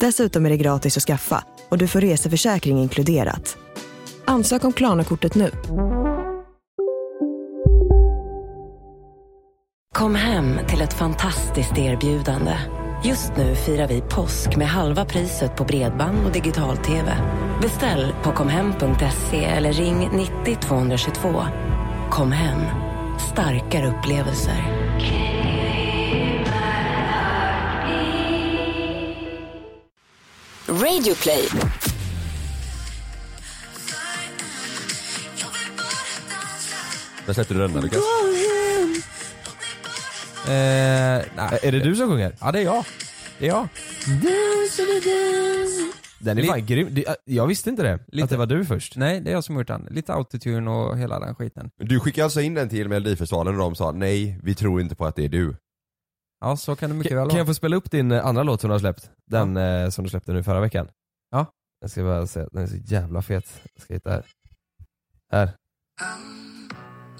Dessutom är det gratis att skaffa och du får reseförsäkring inkluderat. Ansök om Klarna-kortet nu. Kom hem till ett fantastiskt erbjudande. Just nu firar vi påsk med halva priset på bredband och digital-tv. Beställ på komhem.se eller ring 90 222. Kom hem, starkare upplevelser. Radioplay. Där släppte du den där, Lukas. Eh, nej. Är det du som sjunger? Ja det är jag. Det är jag. Den är Li- fan grym. Det- Jag visste inte det. Lite. Att det var du först. Nej det är jag som har gjort den. Lite autotune och hela den skiten. Du skickade alltså in den till Melodifestivalen och de sa nej, vi tror inte på att det är du. Ja så kan det mycket väl Kan vara. jag få spela upp din eh, andra låt som du har släppt? Den eh, som du släppte nu förra veckan. Ja. Jag ska bara säga att den är så jävla fet. Jag ska hitta här. Här.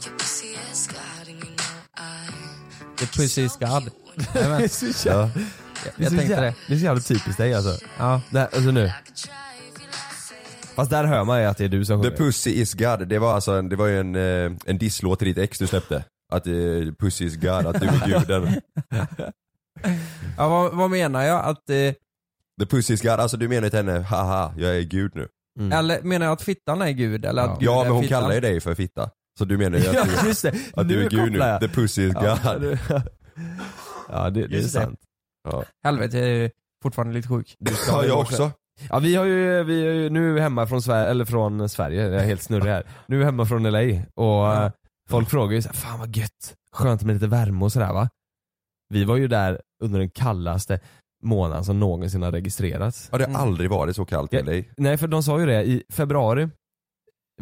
The pussy is God. Jajamän. Ja. Jag tänkte det. Det är så jävla typiskt dig alltså. Ja. Där, alltså nu. Fast där hör man ju att det är du som The sjunger. Pussy Is God, det var alltså en, det var ju en, eh, en disslåt till ditt ex du släppte. Att eh, Pussy Is God, att du är guden. ja vad, vad menar jag? Att, eh, The Pussy Is God, alltså du menar till henne, haha, jag är gud nu. Eller menar jag att fittan är gud? Eller att gud Mm. Ja är men hon fittan? kallar ju dig för fitta. Så du menar ju att Ja du, just det. att du är gud kopplar nu. jag. The Pussy Is Ja, God. du- ja det, det är Just det. sant. Helvete jag är ju fortfarande lite sjuk. Ja, jag också. Ja vi har ju, vi är ju nu hemma från Sverige, eller från Sverige, jag är helt snurrig här. Nu är hemma från LA och eh, folk frågar ju såhär, fan vad gött, skönt med lite värme och sådär va. Vi var ju där under den kallaste månaden som någonsin har registrerats. Ja, det har aldrig varit så kallt i Mm. Ja. LA. Nej för de sa ju det i februari,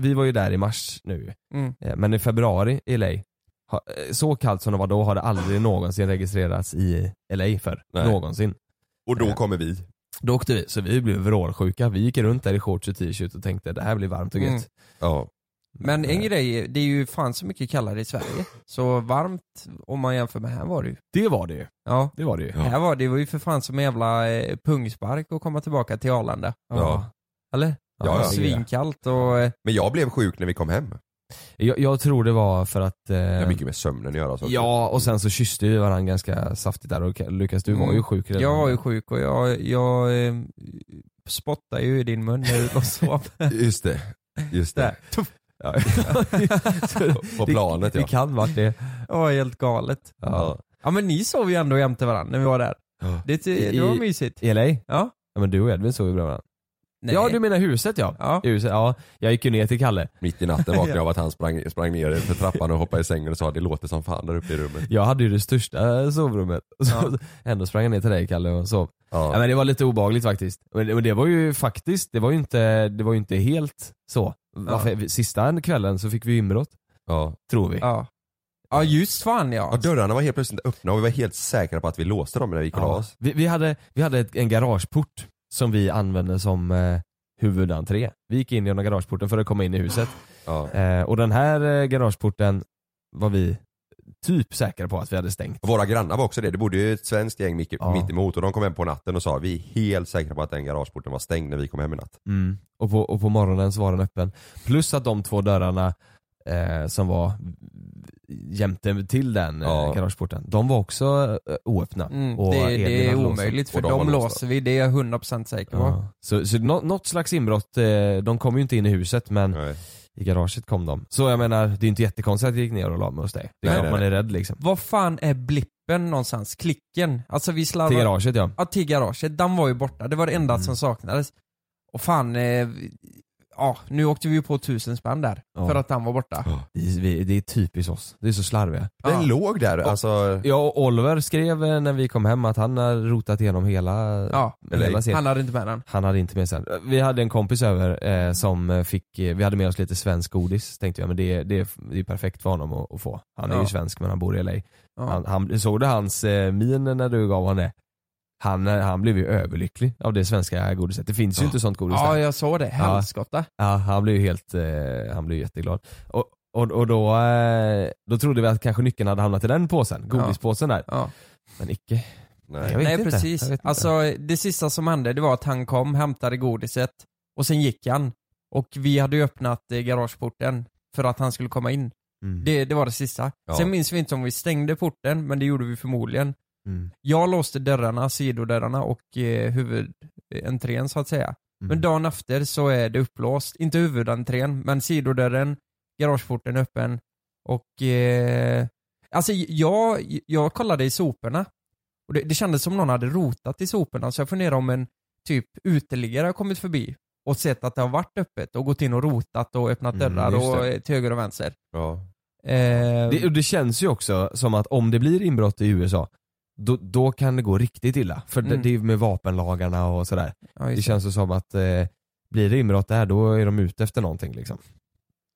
vi var ju där i mars nu, Mm. Eh, men i februari i LA, ha- eh, så kallt som det var då har det aldrig någonsin registrerats i LA för Nej. Någonsin. Och då kommer vi. Då åkte vi, så vi blev vrålsjuka. Vi gick runt där i shorts och t-shirt och tänkte det här blir varmt och gött. Eh. Mm. Ja. Men en grej, det är ju fan så mycket kallare i Sverige. Så varmt om man jämför med här var det ju. Det var det ju. Ja. Det var det ju. Här var det var ju för fan som en jävla eh, pungspark att komma tillbaka till Arlanda. Ja. Eller? Ja, det var ja. Svinkallt och... eh, Men jag blev sjuk när vi kom hem. Jag, jag tror det var för att... eh, Det har mycket med sömnen att göra. Så. ja, och sen så kysste vi varandra ganska saftigt där och Lukas du var Mm. ju sjuk redan. Jag var ju sjuk och jag, jag eh, spottade ju i din mun när du låg och sov. Just det. Just det. Där. Ja. På planet det, ja. Det kan vara det. Det var helt galet. ja. Ja men ni sov ju ändå jämte varandra när vi var där. Det, det var I- mysigt. I LA? Ja. Ja. men du och Edvin sov ju bredvid varandra. Nej. Ja du menar huset ja. Ja. Huset, ja. Jag gick ju ner till Kalle. Mitt i natten vaknade jag av att han sprang, sprang ner för trappan och hoppade i sängen och sa det låter som fan där uppe i rummet. Jag hade ju det största sovrummet. Så ändå sprang jag ner till dig Kalle och sov. Ja, Ja. men det var lite obagligt faktiskt. Men det, men det var ju faktiskt, det var ju inte, det var ju inte helt så. Varför, Sista kvällen så fick vi inbrott, Ja. tror vi. Ja. Ja just fan Ja, ja. dörrarna var helt plötsligt öppna och vi var helt säkra på att vi låste dem när vi gick och la oss. Vi, vi hade, vi hade ett, en garageport som vi använde som eh, huvudentré. Vi gick in genom garageporten för att komma in i huset. Ja. Eh, och den här eh, garageporten var vi typ säkra på att vi hade stängt. Och Våra grannar var också det. Det bodde ju ett svenskt gäng mitt, Ja. mitt emot och de kom hem på natten och sa vi är helt säkra på att den garageporten var stängd när vi kom hem i natt. Mm. Och, på, och på morgonen så var den öppen. Plus att de två dörrarna eh, som var jämte till den Ja. eh, garageporten, de var också eh, oöppna. Mm, Och det, Edvin det är hade låst omöjligt dem. för Och de de har låst låser vi, det är jag 100% säker på. Ja. Så, så nå- något slags inbrott, eh, de kom ju inte in i huset men Nej. i garaget kom de. Så jag menar, det är inte jättekonstigt att jag gick ner och la mig hos dig. Det är Nej, klart nej, man är rädd liksom. Vad fan är blippen? kroppen någonstans, klicken. Alltså vi Till slarvade... garaget ja. Ja, Mm. till garaget. Den var ju borta. Det var det enda som saknades. Och fan, eh, ja, nu åkte vi ju på tusen spänn där. Ja. För att den var borta. Det är, vi, det är typiskt oss. Det är så slarviga. Den Ja. låg där alltså. Jag och Oliver skrev eh, när vi kom hem att han har rotat igenom hela, Ja, hela serien. han hade inte med den. Han hade inte med sig den. Vi hade en kompis över eh, som eh, fick, eh, vi hade med oss lite svensk godis. Tänkte jag men det, det, är- det är perfekt för honom att, att få. Han är Ja. ju svensk men han bor i LA. Ja. Han, han, såg du hans eh, min när du gav honom det? Han, eh, han blev ju överlycklig av det svenska godiset. Det finns ju inte sånt godis Ja, där. jag såg det. Helskotta. Ja, han blev ju helt, eh, han blev ju jätteglad. Och, och, och då, eh, då trodde vi att kanske nyckeln hade hamnat i den påsen, godispåsen där. Ja. Men icke. Nej. Jag vet Nej inte. precis. Jag vet inte. Alltså det sista som hände det var att han kom, hämtade godiset och sen gick han. Och vi hade ju öppnat eh, garageporten för att han skulle komma in. Mm. Det, det var det sista. Ja. Sen minns vi inte om vi stängde porten, men det gjorde vi förmodligen. Mm. Jag låste dörrarna, sidodörrarna och eh, huvudentrén så att säga. Mm. Men dagen efter så är det upplåst. Inte huvudentrén, men sidodörren, garageporten är öppen och... Eh, alltså jag, jag kollade i soporna och det, det kändes som någon hade rotat i soporna så jag funderar om en typ uteliggare har kommit förbi och sett att det har varit öppet och gått in och rotat och öppnat Mm, dörrar just det. och eh, till höger och vänster. Ja. Eh, Det, och det känns ju också som att om det blir inbrott i USA, då, då kan det gå riktigt illa. För det, Mm. det är ju med vapenlagarna och sådär. ja, Det just känns ju som att eh, blir det inbrott där, då är de ute efter någonting liksom. eh,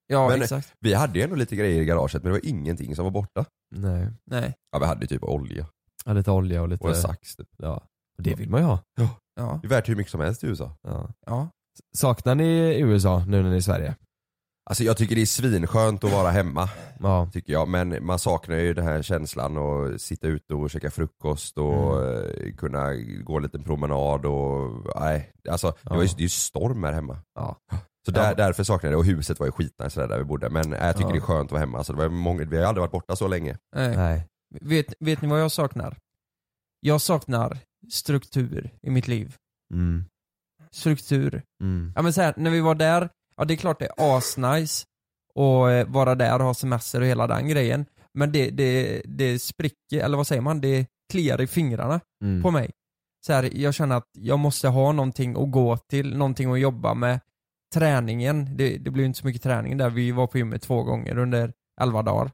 ja Men- exakt. Vi hade ju ändå lite grejer i garaget men det var ingenting som var borta. Nej. Nej. Ja vi hade ju typ olja Ja, lite olja och lite... och en sax typ. Ja. Och Det vill man ju ha. Ja. Det är värt hur mycket som helst i USA. Ja. ja. Saknar ni USA nu när ni är i Sverige? Alltså jag tycker det är svinskönt att vara hemma. Ja. tycker jag. Men man saknar ju den här känslan och sitta ute och käka frukost och Mm. eh, kunna gå en liten promenad och nej. Alltså det, var ju, Ja. det är ju storm här hemma. Ja. Så där, Ja. därför saknar jag det och huset var ju skitnice där, där vi bodde. Men eh, jag tycker Ja. det är skönt att vara hemma. Alltså, det var ju många, vi har ju aldrig varit borta så länge. Nej. Nej. Eh, Vet, vet ni vad jag saknar? Jag saknar struktur i mitt liv. Mm. Struktur. Mm. Ja men så här, när vi var där, ja det är klart det är asnice och eh, vara där och ha semester och hela den grejen. Men det, det, det spricker, eller vad säger man, det kliar i fingrarna Mm. på mig. Så här, jag känner att jag måste ha någonting att gå till, någonting att jobba med. Träningen, det, det blev ju inte så mycket träning där, vi var på gymmet två gånger under 11 dagar.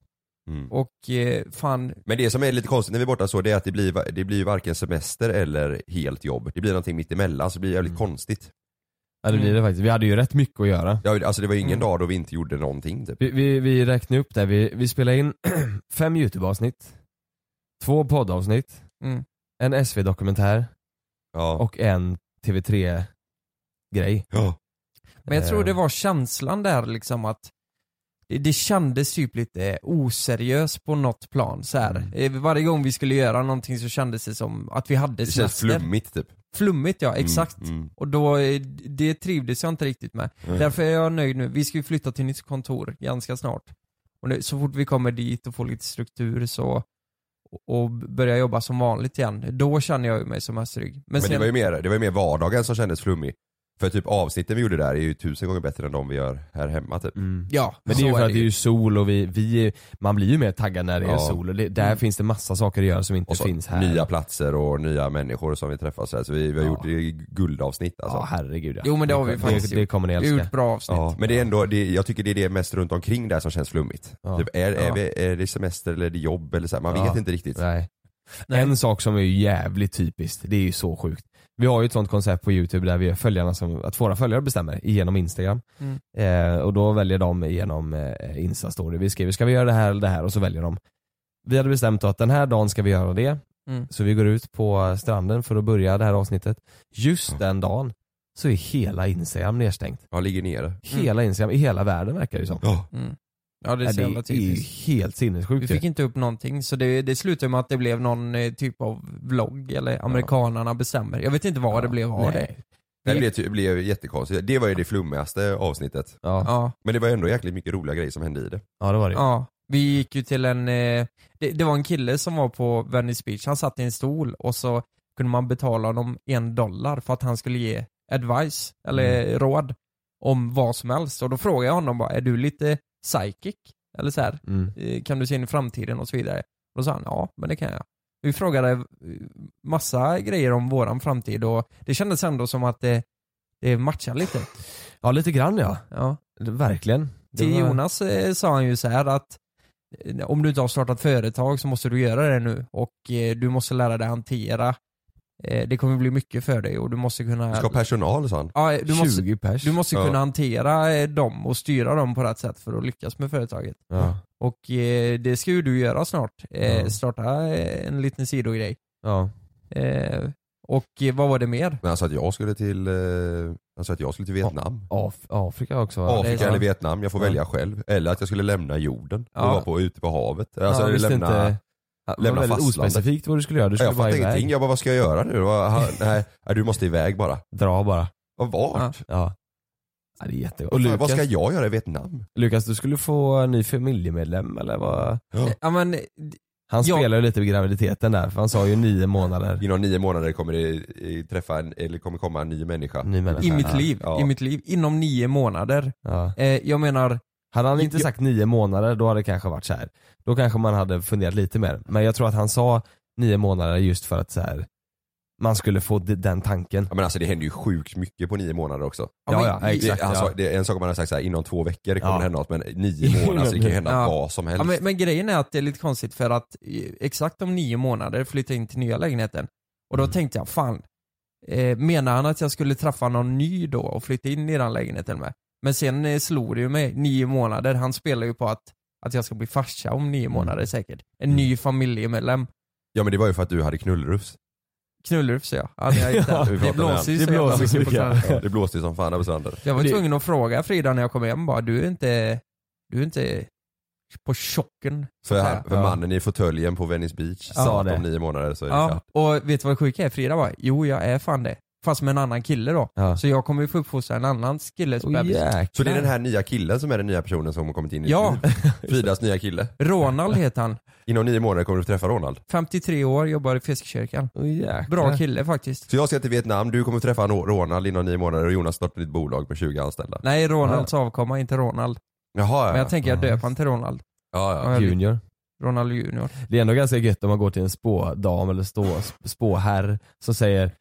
Mm. Och eh, fan, Men det som är lite konstigt när vi är borta så det är att det blir, va- det blir ju varken semester eller helt jobb. Det blir någonting mitt emellan så det blir jävligt Mm. konstigt. Ja det blir det faktiskt. Vi hade ju rätt mycket att göra. Ja, alltså det var ju ingen Mm. dag då vi inte gjorde någonting typ. Vi, vi, vi räknade upp det. Vi, vi spelade in fem YouTube-avsnitt, två poddavsnitt, Mm. en SV-dokumentär Ja. och en TV3-grej. Ja. Men jag Eh. tror det var känslan där liksom att det, det kändes typ lite oseriöst på något plan så här. Mm. Eh, Varje gång vi skulle göra någonting så kändes det som att vi hade Det känns semester. flummigt typ. Flummigt ja, exakt. Mm, mm. Och då, eh, det trivdes jag inte riktigt med. Mm. Därför är jag nöjd nu. Vi ska ju flytta till nytt kontor ganska snart. Och nu, så fort vi kommer dit och får lite struktur så och börjar jobba som vanligt igen, då känner jag ju mig som mest trygg. Men, det, var ju mer, det var ju mer vardagen som kändes flummig. För typ avsnitten vi gjorde där är ju tusen gånger bättre än de vi gör här hemma typ. Mm. ja, Men det är ju så för att det är ju sol och vi, vi är- man blir ju mer taggad när det är Ja. sol och det, där Mm. finns det massa saker att göra som inte Och så finns här. nya platser och nya människor som vi träffar så, här. så vi, vi har Ja. gjort det guldavsnitt alltså. Ja herregud ja. Jo, men det har vi det, faktiskt det, det gjort. kommer ni Vi har gjort älska. bra avsnitt. Ja, men det är ändå, det, jag tycker det är det mest runt omkring där som känns flummigt. Ja. Typ, är, är, Ja. vi, är det semester eller är det jobb eller så här, man Ja. vet inte riktigt. Nej. Nej. En sak som är ju jävligt typiskt, det är ju så sjukt. Vi har ju ett sånt koncept på youtube där vi gör följarna som, att våra följare bestämmer genom instagram. Mm. Eh, och då väljer de genom eh, instastory. Vi skriver ska vi göra det här eller det här och så väljer de. Vi hade bestämt att den här dagen ska vi göra det. Mm. Så vi går ut på stranden för att börja det här avsnittet. Just den dagen så är hela instagram nedstängt. Ja, ligger nere. Hela instagram, i hela världen verkar det ju som. Ja. Mm. Ja Mm. det är Nej, så det jävla är ju typiskt. helt sinnessjukt Vi ju. fick inte upp någonting så det, det slutade med att det blev någon eh, typ av vlogg eller amerikanarna bestämmer. Jag vet inte vad det blev av Nej. det. Det blev, ty- blev jättekonstigt. Det var ju det flummigaste avsnittet. Ja. Ja. Ja, Men det var ändå jäkligt mycket roliga grejer som hände i det. det var det ju. ja. Vi gick ju till en, eh, det, det var en kille som var på Venice Beach, han satt i en stol och så kunde man betala honom en dollar för att han skulle ge advice, eller råd, om vad som helst. Och då frågade jag honom bara, är du lite psychic? Eller så här, Mm. eh, kan du se in i framtiden och så vidare? Då sa han, ja men det kan jag. Vi frågade eh, massa grejer om våran framtid och det kändes ändå som att det, det matchar lite. Ja lite grann ja. Ja. Verkligen. Det Till var- Jonas eh, sa han ju så här att eh, om du inte har startat företag så måste du göra det nu och eh, du måste lära dig hantera. Eh, Det kommer bli mycket för dig och du måste kunna... Du ska ha personal sa han. ja, eh, du måste, 20 pers. du måste Ja. kunna hantera eh, dem och styra dem på rätt sätt för att lyckas med företaget. Ja. Och eh, det ska ju du göra snart. Eh, Ja. Starta eh, en liten sidogrej. ja. Eh, och eh, vad var det mer? Men han sa att jag skulle till, eh, han sa att jag skulle till Vietnam. Af Afrika också va? det är Afrika sant. eller Vietnam, jag får Ja. välja själv. Eller att jag skulle lämna jorden och Ja. vara på, ute på havet. Alltså, ja, jag visste lämna, inte. Det var lämna väldigt fastlandet. ospecifikt vad du skulle göra. Du skulle jag bara fattade iväg. ingenting, jag bara vad ska jag göra nu? Vad- han- Nej, nej, du måste iväg bara. Dra bara. Vad vart? Ja. ja det är jättegott. Och Vad fan, Lukas, Vad ska jag göra i Vietnam? Lukas, du skulle få en ny familjemedlem eller vad? Ja. Eh, Ja, men, Han Ja. spelar ju lite med graviditeten där för han sa ju nio månader. Inom nio månader kommer det eh, träffa en, eller kommer komma en ny människa. Ny människa. i, mitt Ja. liv, Ja. I mitt liv. Inom nio månader. Ja. Eh, jag menar, Hade han inte Jag- sagt nio månader då hade det kanske varit så här. Då kanske man hade funderat lite mer. Men jag tror att han sa nio månader just för att så här, man skulle få d- den tanken. Ja, men alltså det händer ju sjukt mycket på nio månader också. Ja, men- ja, i- Det, exakt. han ja. sa, det är en sak man har sagt så här, inom två veckor kommer Ja. det hända något men nio månader, så det kan ju hända Ja. vad som helst. Ja, men, men grejen är att det är lite konstigt för att eh, exakt om nio månader flyttar jag in till nya lägenheten. Och Mm. då tänkte jag, fan, eh, menar han att jag skulle träffa någon ny då och flytta in i den lägenheten med? Men sen eh, slog det ju mig, nio månader, han spelar ju på att, att jag ska bli farsa om Mm. nio månader säkert. En ny familjemedlem. Ja men det var ju för att du hade knullrufs. Knullrufs ja. ja, när jag gick där. Ja, vi det pratade om blåser ju det. så Det jävla blåser så mycket på mycket. stranden. Ja, det blåste ju som fan där på stranden. Jag var Det- tvungen att fråga Frida när jag kom hem bara, du är inte, du är inte på chocken. så För, att han, säga. för Ja. mannen i fåtöljen på Venice Beach Ja, sa att det. om nio månader så är det Ja, klart. och vet du vad det sjuka är? Frida bara, jo jag är fan det. Fast med en annan kille då. Ja. Så jag kommer ju få uppfostra en annan killes Åh, bebis. jäklar. Så det är den här nya killen som är den nya personen som har kommit in i Ja. ditt liv. Fridas nya kille. Ronald heter han. Inom nio månader kommer du träffa Ronald. 53 år, jobbar i Fiskekyrkan. Åh, jäklar. Bra kille faktiskt. Så jag ska till Vietnam, du kommer träffa Ro- Ronald inom nio månader och Jonas startar ditt bolag med 20 anställda. Nej, Ronalds avkomma, inte Ronald. Jaha ja. Mm. Men jag tänker jag Ja, döper han till Ronald. ja, ja. Ja, Junior. Ronald Junior. Det är ändå ganska gött om man går till en spådam eller stå, sp- spåherr som säger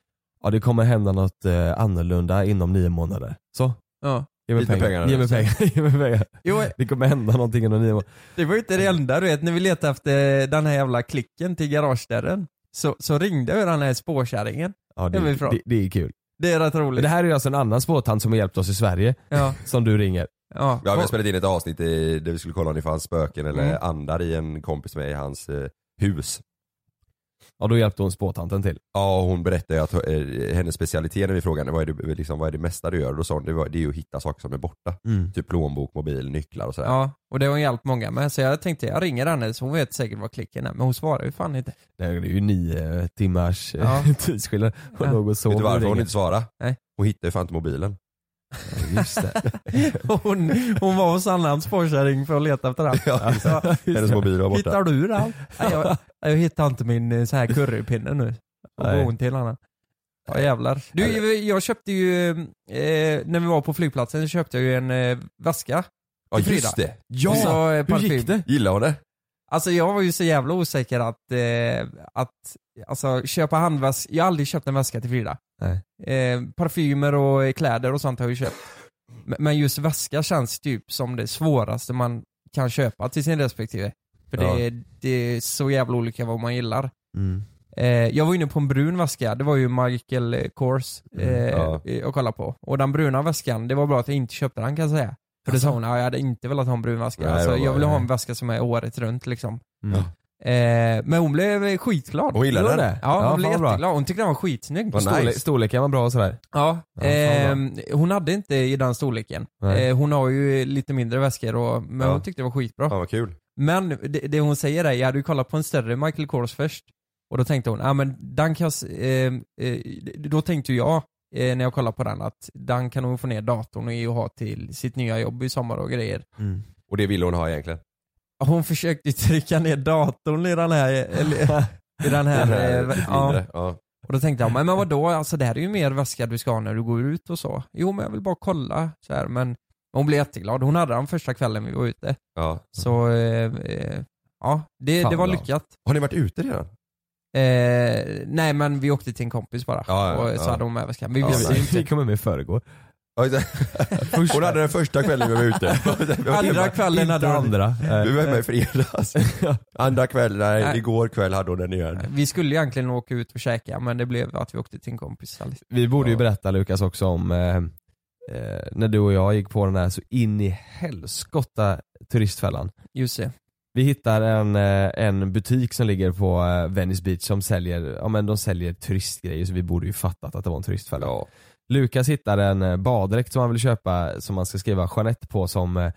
ja det kommer hända något eh, annorlunda inom nio månader. Så, Ja. ge mig Lite pengar. pengar eh. nu. ge mig pengar. ge mig pengar. Jo, Det kommer hända någonting inom nio månader. det var ju inte det enda du vet, när vi letade efter den här jävla klicken till garagedörren. Så, så ringde ju den här spåkärringen. Ja, det, Det var ju bra. det, det är kul. Det är rätt Men roligt. det här är ju alltså en annan spåtant som har hjälpt oss i Sverige Ja, som du ringer. ja. Ja, vi har spelat in ett avsnitt i, där vi skulle kolla om det fanns spöken eller Mm. andar i en kompis med i hans eh, hus. Ja då hjälpte hon spåtanten till. Ja, och hon berättade ju att eh, hennes specialitet när vi frågade henne, vad är det, liksom, vad är det mesta du gör? Då sa hon det, var, det är ju att hitta saker som är borta. Mm. Typ plånbok, mobil, nycklar och sådär. Ja, och det har hjälpt många med. Så jag tänkte, jag ringer henne så hon vet säkert vad klicken är. Men hon svarar ju fan inte. Det är ju nio timmars Ja. ja. tidsskillnad. Hon Ja. låg och sov. Vet du varför när hon du inte svarade? Nej. Hon hittade ju fan inte mobilen. ringer. Just det. Hon, hon var hos Sandlands Forskärring för att leta efter den. Ja, Ja, hennes mobil var borta. Hittar du den? Nej, jag, jag hittar inte min eh, så här currypinne nu. Och Nej. går hon till henne. Ja jävlar. Du, jag köpte ju, eh, när vi var på flygplatsen så köpte jag ju en eh, väska. Ja Till just Frida. det! Och så, eh, Hur parfym. gick det? Gillar hon det? Alltså jag var ju så jävla osäker att, eh, att alltså, köpa handväska, jag har aldrig köpt en väska till Frida. Eh, parfymer och eh, kläder och sånt har jag ju köpt. Men- Men just väska känns typ som det svåraste man kan köpa till sin respektive. För det, det är så jävla olika vad man gillar. Mm. Eh, jag var inne på en brun väska, det var ju Michael Kors eh, Mm, att kolla på. Och den bruna väskan, det var bra att jag inte köpte den kan jag säga. För det sa hon, "Ja, jag hade inte velat ha en brun väska. Alltså. Nej, alltså, det var jag bara- vill ha en väska som är året runt liksom. Mm. Eh, men hon blev skitglad. Hon gillar Gillar den? det? Ja, hon Ja, blev fan vad bra. jätteglad. Hon tyckte den var skitsnygg. Vad Storle- nice. Storleken var bra och sådär. Ja, Ja, eh, fan hon hade inte i den storleken. Nej. Eh, hon har ju lite mindre väskor och, men Ja. hon tyckte det var skitbra. Fan vad kul. Men det, det hon säger är, jag hade ju kollat på en större Michael Kors först. Och då tänkte hon, ja ah, men den kan, jag s- eh, eh, då tänkte jag eh, när jag kollade på den att den kan hon få ner datorn i och ha till sitt nya jobb i sommar och grejer. Och det ville hon ha egentligen. Hon försökte ju trycka ner datorn i den här, eller, i den här, Den här eh, lite ja. mindre. Ja. Och då tänkte jag, men men vadå, alltså det här är ju mer väska du ska ha när du går ut och så. Jo men jag vill bara kolla så här, men hon blev jätteglad. Hon hade den första kvällen vi var ute. Ja. Så eh, eh, ja, det, Fan det var bra. lyckat. Har ni varit ute redan? Eh, nej men vi åkte till en kompis bara Ja, ja, och så ja. hade hon med väskan. Vi Ja, visste nej. ju inte. Vi kommer med i förrgår. Hon hade den första kvällen vi var ute. Vi var hemma- Andra kvällen hade Inte hon, Eh, andra. Vi var hemma eh. i fredags. Andra kvällen, nej Nej. igår kväll hade hon den igen. Vi skulle egentligen åka ut och käka men det blev att vi åkte till en kompis istället. Vi borde ju Ja. berätta Lukas också om eh, eh, när du och jag gick på den här så in i helskotta turistfällan. Just det. Vi hittar en, eh, en butik som ligger på eh, Venice Beach som säljer, ja, men de säljer turistgrejer så vi borde ju fattat att det var en turistfälla. Ja. Lukas hittar en eh, baddräkt som han vill köpa som han ska skriva Jeanette på som, eh,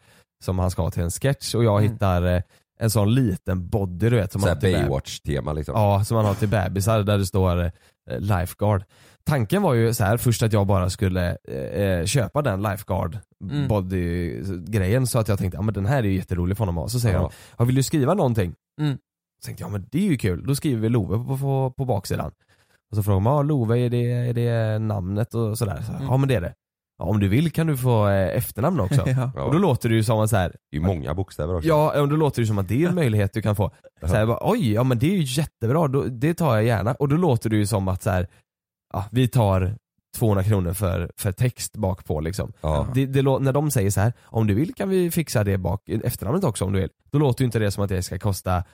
som han ska ha till en sketch och jag Mm. hittar eh, en sån liten body du vet som Såhär han har till bä- Baywatch-tema liksom. Ja, som man har till bebisar där det står eh, lifeguard. Tanken var ju så här först att jag bara skulle eh, eh, köpa den lifeguard Mm. body grejen så att jag tänkte ja men den här är ju jätterolig för honom att ha. Så säger Ja. han, jag vill du skriva någonting? Mm. Så tänkte jag, ja men det är ju kul, då skriver vi Love på, på, på baksidan. Och så frågar man, ja Love är det, är det namnet och sådär? Så, Mm. Ja men det är det. Ja, om du vill kan du få eh, efternamn också. Ja. Ja. Och då låter det ju som att så här, Det är ju många bokstäver också. Ja, och då låter det som att det är en möjlighet du kan få. Så här, bara, Oj, ja men det är ju jättebra, då, det tar jag gärna. Och då låter det ju som att så här, ja, vi tar 200 kronor för, för text bak på liksom. Ja. Det, det, lå- när de säger så här, om du vill kan vi fixa det bak, efternamnet också om du vill. Då låter ju inte det som att det ska kosta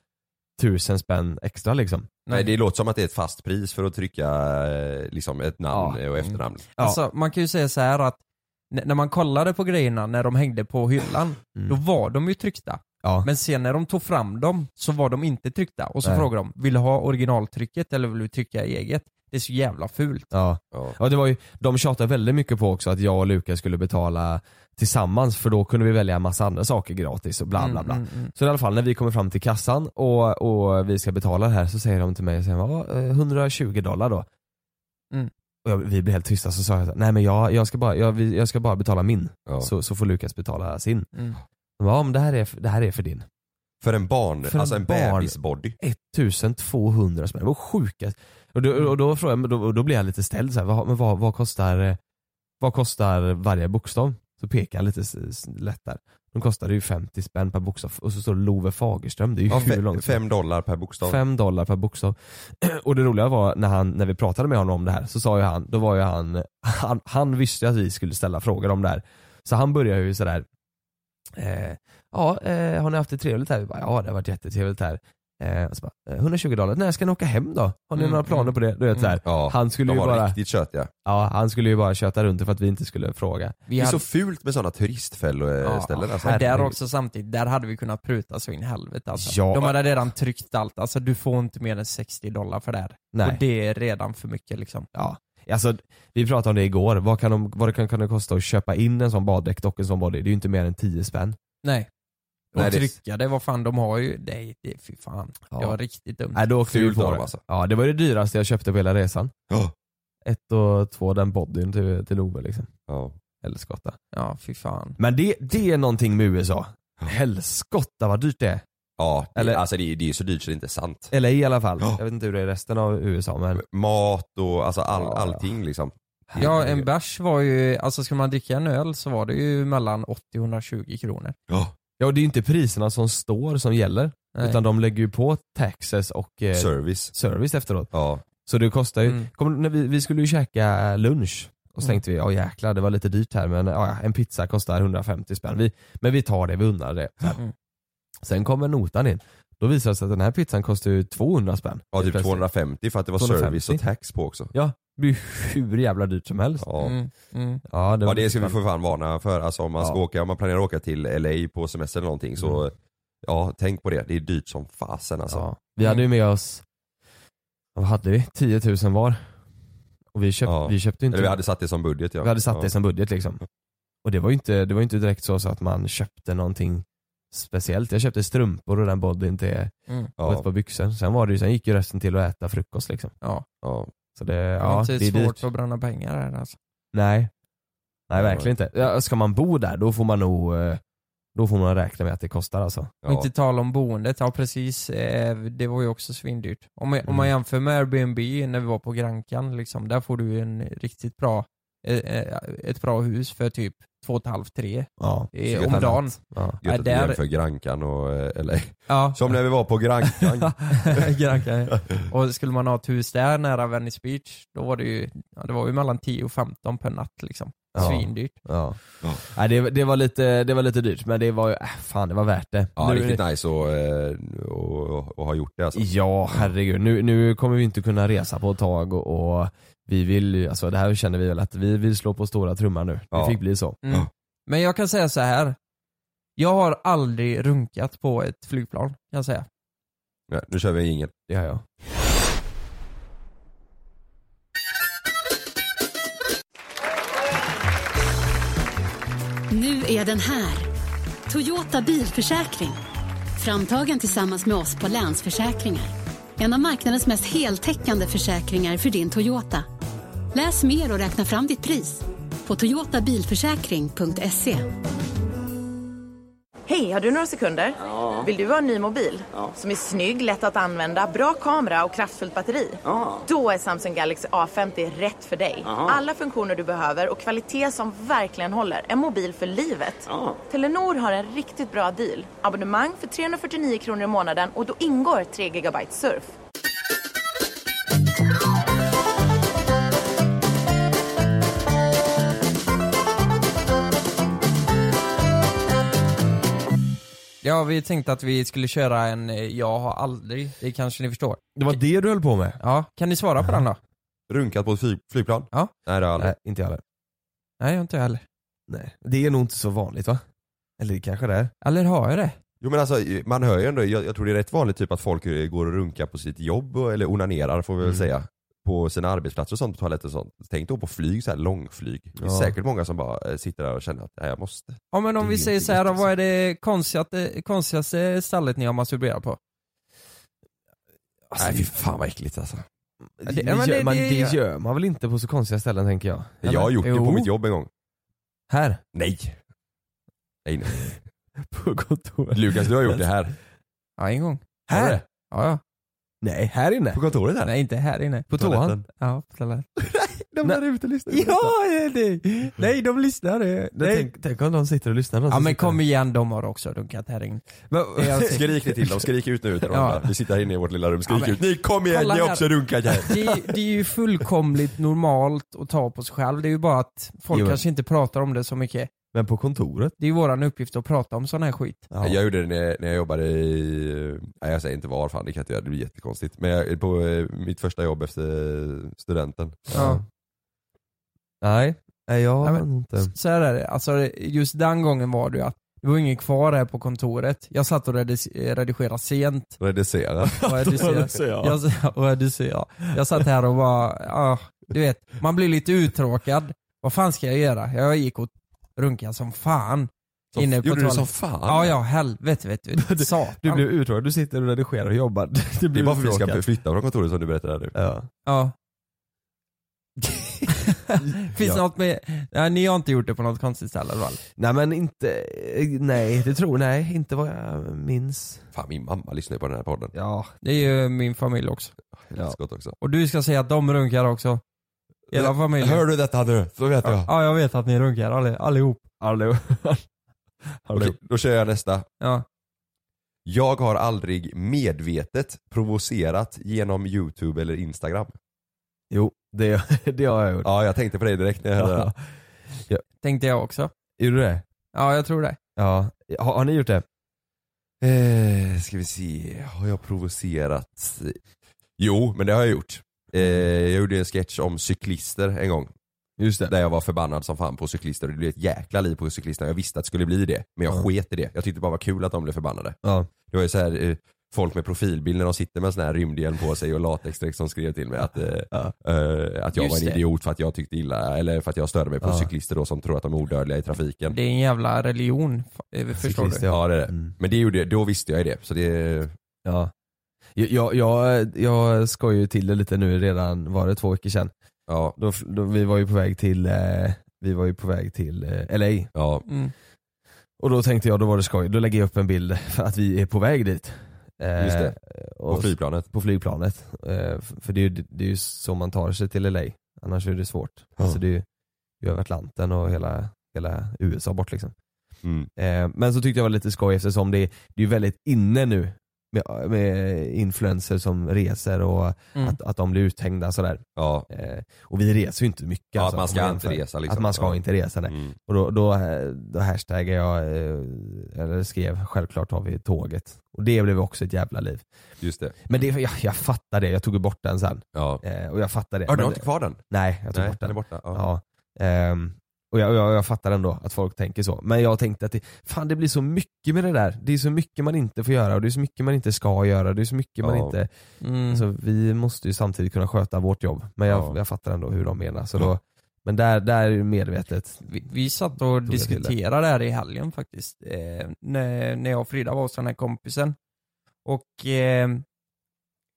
tusen spänn extra liksom. Nej det låter som att det är ett fast pris för att trycka eh, liksom ett namn och efternamn. Ja. Alltså man kan ju säga så här att n- när man kollade på grejerna när de hängde på hyllan, Mm. då var de ju tryckta. Ja. Men sen när de tog fram dem så var de inte tryckta. Och så Nej. frågade de, vill du ha originaltrycket eller vill du trycka eget? Det är så jävla fult. Ja. Ja. Ja, det var ju, de tjatade väldigt mycket på också att jag och Lukas skulle betala tillsammans för då kunde vi välja massa andra saker gratis och bla bla bla. Mm, mm, mm. Så i alla fall när vi kommer fram till kassan och, och vi ska betala det här så säger de till mig, säger, "Ja, eh, 120 dollar då. Mm. Och jag, vi blir helt tysta så sa jag så här, nej men jag, jag, ska, bara, jag, vi- jag ska bara betala min. Ja. Så, så får Lukas betala sin. Mm. De bara, Ja men det här är, för- det här är för din. För en barn, För en alltså en barn. bebisbody. 1200 spänn, det var sjukt. Och då, och då, frågade jag, men då, och då blev jag lite ställd så här, vad, men vad, vad, kostar, eh, vad kostar varje bokstav? Så pekar jag lite s- s- lätt där. De kostade ju 50 spänn per bokstav och så står det Love Fagerström, det är ju Ja, hur fe- långt som fem dollar per bokstav. Fem dollar per bokstav. Och det roliga var när, han, när vi pratade med honom om det här så sa ju han, då var ju han, han, han visste ju att vi skulle ställa frågor om det här. Så han började ju sådär, eh, ja eh, har ni haft det trevligt här? Vi bara, ja det har varit jättetrevligt här. Eh, och så bara, eh, 120 dollar, när ska ni åka hem då? Har ni Mm, några planer mm. på det? Du vet, så här. Ja, Han skulle de ju var bara, riktigt tjötiga. ja, han skulle ju bara köta runt det för att vi inte skulle fråga. Vi Det är hade, så fult med sådana turistfällor ställen alltså. men där Herregud. också samtidigt, där hade vi kunnat pruta så in i helvete alltså. Ja. De hade redan tryckt allt, alltså du får inte mer än 60 dollar för det här. Nej. Och det är redan för mycket liksom. Ja. Alltså, vi pratade om det igår, vad, kan de, vad det kan, kan det kosta att köpa in en sån baddräkt och en sån body? Det är ju inte mer än 10 spänn. Nej. Och Nej, det- trycka det, vad fan de har ju, nej det är fy fan. Det var riktigt dumt. Nej då åkte vi Fult på av det. dem, alltså. Ja det var det dyraste jag köpte på hela resan. Ja. Ett och två den bodyn till, till Ove liksom. Ja. Eller skotta. Ja fy fan. Men det, det är någonting med USA. Helskotta vad dyrt det är. Ja, det, Eller- alltså det, är- det är så dyrt så det är inte sant. LA i alla fall. Ja. Jag vet inte hur det är i resten av USA men. Mat och alltså all, Eh. Ja. allting liksom. Ja en bärs var ju, alltså ska man dricka en öl så var det ju mellan 80 och 120 kronor. Ja. Ja och det är ju inte priserna som står som gäller. Nej. Utan de lägger ju på taxes och eh, Service. service efteråt. Ja. Så det kostar ju, Mm. kommer, när vi, vi skulle ju käka lunch och så tänkte vi, ja jäklar det var lite dyrt här men ja, en pizza kostar 150 spänn. Vi, men vi tar det, vi unnar det. Så här. Mm. Sen kommer notan in. Då visar det sig att den här pizzan kostar ju 200 spänn. Ja typ Plötsligt. 250 för att det var 250. service och tax på också. Ja, det blir hur jävla dyrt som helst. Ja. Mm, mm. Ja, det, Ja var det ska vi för fan varna för. Alltså om man, ska Ja. Mm. åka, om man planerar att åka till LA på semester eller någonting så ja, tänk på det. Det är dyrt som fasen alltså. ja. Vi hade ju med oss, vad hade vi? 10 000 var. Och vi, köpt, Ja. vi köpte ju inte, Eller vi hade satt det Mm. som budget ja. vi hade satt det ja. som budget liksom. Och det var ju inte, det var ju inte direkt så, så att man köpte någonting speciellt. Jag köpte strumpor och den bodyn till och ett Ja. par byxor. Sen, var det ju, sen gick ju resten till att äta frukost liksom. Ja. Så det, Det var ja, det inte är svårt dyrt. att bränna pengar här alltså. Nej. Nej verkligen inte. Ja, ska man bo där då får man nog eh, då får man räkna med att det kostar alltså. Och Ja. inte tala om boendet, ja precis, eh, det var ju också svindyrt. Om man, om man Mm. jämför med Airbnb när vi var på Grankan liksom, där får du ju en riktigt bra eh, eh, ett bra hus för typ två och ett halvt, tre Ja. eh, om Gött. dagen. Ja. Gött att Nej, vi där- jämför Grankan och eh, LA. Ja. Som när vi var på Grankan. Grankan, ja. Och skulle man ha ett hus där nära Venice Beach, då var det ju, ja, det var ju mellan 10 och 15 per natt liksom. Ja. Svindyrt. Ja. Nej, det, det, var lite, det var lite dyrt men det var ju, äh, fan det var värt det. Ja, Nu- riktigt nice och, eh, och, och, och ha gjort det alltså. Ja, herregud. Nu, nu kommer vi inte kunna resa på ett tag och, och vi vill ju- alltså det här känner vi väl att vi vill slå på stora trumman nu. Ja. Det fick bli så. Mm. Men jag kan säga så här. Jag har aldrig runkat på ett flygplan, kan jag säga. Ja, nu kör vi en jingel. Det har jag. Nu är den här. Toyota bilförsäkring. Framtagen tillsammans med oss på Länsförsäkringar. En av marknadens mest heltäckande försäkringar för din Toyota. Läs mer och räkna fram ditt pris på toyotabilförsäkring.se. Hej, har du några sekunder? Vill du ha en ny mobil? Som är snygg, lätt att använda, bra kamera och kraftfullt batteri? Då är Samsung Galaxy A50 rätt för dig. Alla funktioner du behöver och kvalitet som verkligen håller. En mobil för livet. Telenor har en riktigt bra deal. Abonnemang för 349 kronor i månaden och då ingår 3 GB surf. Ja, vi tänkte att vi skulle köra en eh, jag har aldrig, det kanske ni förstår. Det var det du höll på med? Ja, kan ni svara på den då? Runkat på ett fly- flygplan? Ja. Nej det har jag aldrig. Nej, inte jag heller. Nej, jag har inte jag heller. Nej. Det är nog inte så vanligt va? Eller det kanske det är. Eller har jag det? Jo men alltså man hör ju ändå, jag, jag tror det är rätt vanligt typ att folk eh, går och runkar på sitt jobb och- eller onanerar får vi väl Mm. säga. På sina arbetsplatser och sånt, på toaletter och sånt. Tänk då på flyg, så här långflyg. Det är Ja. säkert många som bara eh, sitter där och känner att nej, jag måste. Ja men om Det vi är säger inte så här då, gött, vad är det konstigaste, konstigaste stället ni har masturberat på? nej fy fan vad äckligt alltså. Det- Det, ja, men gör, det- man, det- det gör man väl inte på så konstiga ställen tänker jag? Eller? Jag har gjort det Jo. på mitt jobb en gång. Här? Nej. Nej, nej. På kontoret? Lukas du har gjort det här. Ja, en gång. Här? Ja, ja. Nej, här inne? På kontoret här. Nej, inte här inne. På toan? toaletten. Ja, på toaletten. De där ute lyssnar ju. nej. nej, de lyssnar. eh. Nej. Tänk, tänk om de sitter och lyssnar. Ja men kom igen, de har också dunkat här inne. Jag ser- Skrik ni till dem, skrik ut nu till dem. Ja. Vi sitter här inne i vårt lilla rum, skrik Ja, men- ut. Ni kom igen, Kolla ni har här. också runkat här. Det, är- det är ju fullkomligt normalt att ta på sig själv. Det är ju bara att folk Jo. kanske inte pratar om det så mycket. Men på kontoret? Det är ju våran uppgift att prata om sån här skit. Ja. Jag gjorde det när, när jag jobbade i, eh, nej jag säger inte var fan det kan jag inte göra, det blir jättekonstigt. Men jag, på eh, mitt första jobb efter studenten. Ja. Nej, nej jag Nej, har men- inte. Så här är det, alltså just den gången var det ju att det var ingen kvar här på kontoret. Jag satt och redis- redigerade sent. Reducera. Och redigerade, jag, och redigerade. jag satt här och bara, ja, du vet, man blir lite uttråkad. Vad fan ska jag göra? Jag gick och runkade som fan. Som- Inne på Gjorde du toaletten. som fan? Ja, ja, helvete vet du. Satan. Du blev uttråkad, du sitter och redigerar och jobbar. Du Det blir är bara för att vi ska uttråkad. flytta från kontoret som du berättade nu. Ja. Ja. Finns något med, ja, ni har inte gjort det på något konstigt ställe i alla fall. Nej men inte, eh, nej det tror nej inte vad jag minns. Fan min mamma lyssnar ju på den här podden. Ja. Det är ju min familj också. Helvete gott också. Och du ska säga att de runkar också. Hela familjen. Hör du detta nu? Så vet jag. Ja, jag vet att ni runkar alli- allihop. Hallå. Hallå. Okej, då kör jag nästa. Ja. Jag har aldrig medvetet provocerat genom youtube eller instagram. Jo, det, det har jag gjort. Ja jag tänkte på dig direkt när jag hörde det. Tänkte jag också. Gjorde du det? Ja, jag tror det. Ja. Har, har ni gjort det? Eh, ska vi se, har jag provocerat? Jo, men det har jag gjort. Eh, jag gjorde en sketch om cyklister en gång. Just det. Där jag var förbannad som fan på cyklister och det blev ett jäkla liv på cyklisterna. Jag visste att det skulle bli det, men jag Ja. sket i det. Jag tyckte bara det var kul att de blev förbannade. Ja. Det var ju så här eh, folk med profilbild när de sitter med en sån här rymdhjälm på sig och latexdräkt som skrev till mig att, eh, eh, att jag Just var en det. idiot för att jag tyckte illa, eller för att jag störde mig på Ja. cyklister då som tror att de är odödliga i trafiken. Det är en jävla religion. fa- eh, Förstår du? Cyklist, Ja det är det. Mm. Men det gjorde, då visste jag ju det. Så det Ja. Jag, jag, jag, jag skojar ju till det lite nu redan, var det två veckor sedan? Ja, Då, då, vi var ju på väg till, eh, vi var ju på väg till eh, LA. ja. Mm. Och då tänkte jag, då var det skoj, då lägger jag upp en bild för att vi är på väg dit. Eh, Just det. Och, På flygplanet. på flygplanet. Eh, f- För det är, ju, det är ju så man tar sig till LA, annars är det svårt. Ja. Alltså det är ju ju över Atlanten och hela, hela USA bort liksom. Mm. Eh, men så tyckte jag det var lite skoj eftersom det, det är ju väldigt inne nu med, med Eh, influencer som reser och Mm. att, att de blir uthängda sådär. Eh, och vi reser ju inte mycket. alltså, Ja, att man ska om man inte jämför. resa, liksom. Att man ska Ja. inte resa nej. Mm. Och då, då, eh, då hashtaggar jag, eh, eller skrev självklart har vi tåget. Och det blev också ett jävla liv. Just det. Men det, jag, jag fattar det, jag tog ju bort den sen. Ja. Eh, och jag fattar det. Har du Men- inte kvar den? Nej, jag tog Nej, bort den. den är borta. Ja. Ja. Ehm, och jag, och jag, jag fattar ändå att folk tänker så. Men jag tänkte att det, fan det blir så mycket med det där. Det är så mycket man inte får göra och det är så mycket man inte ska göra. Det är så mycket man Ja. inte... Mm. Alltså, vi måste ju samtidigt kunna sköta vårt jobb. Men jag, Ja. jag fattar ändå hur de menar. Så då, men där, där är ju medvetet. Vi, vi satt och jag till det. diskuterade det här i helgen faktiskt. Eh, när, när jag och Frida var hos den här kompisen. Och eh,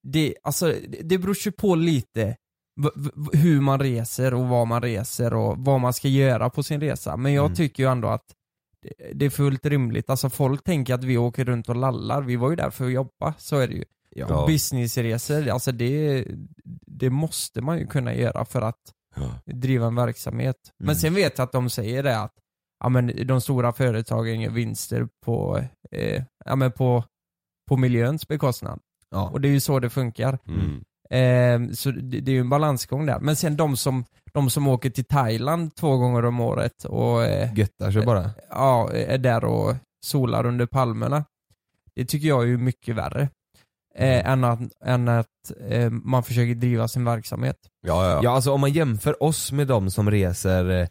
det, alltså, det- det beror ju på lite v, v, hur man reser och var man reser och vad man ska göra på sin resa. Men jag Mm. tycker ju ändå att det- det är fullt rimligt. Alltså folk tänker att vi åker runt och lallar. Vi var ju där för att jobba, så är det ju. Ja. Och businessresor, alltså det, det måste man ju kunna göra för att Ja. driva en verksamhet. Mm. Men sen vet jag att de säger det att ja, men de stora företagen gör vinster på, eh, ja, men på, på miljöns bekostnad. Ja. Och det är ju så det funkar. Mm. Eh, så det, det är ju en balansgång där. Men sen de som, de som åker till Thailand två gånger om året och eh, Göttar sig bara. ja, är där och solar under palmerna. Det tycker jag är ju mycket värre. Mm. Eh, än att, än att eh, man försöker driva sin verksamhet. Ja, ja. Ja alltså om man jämför oss med de som reser, eh,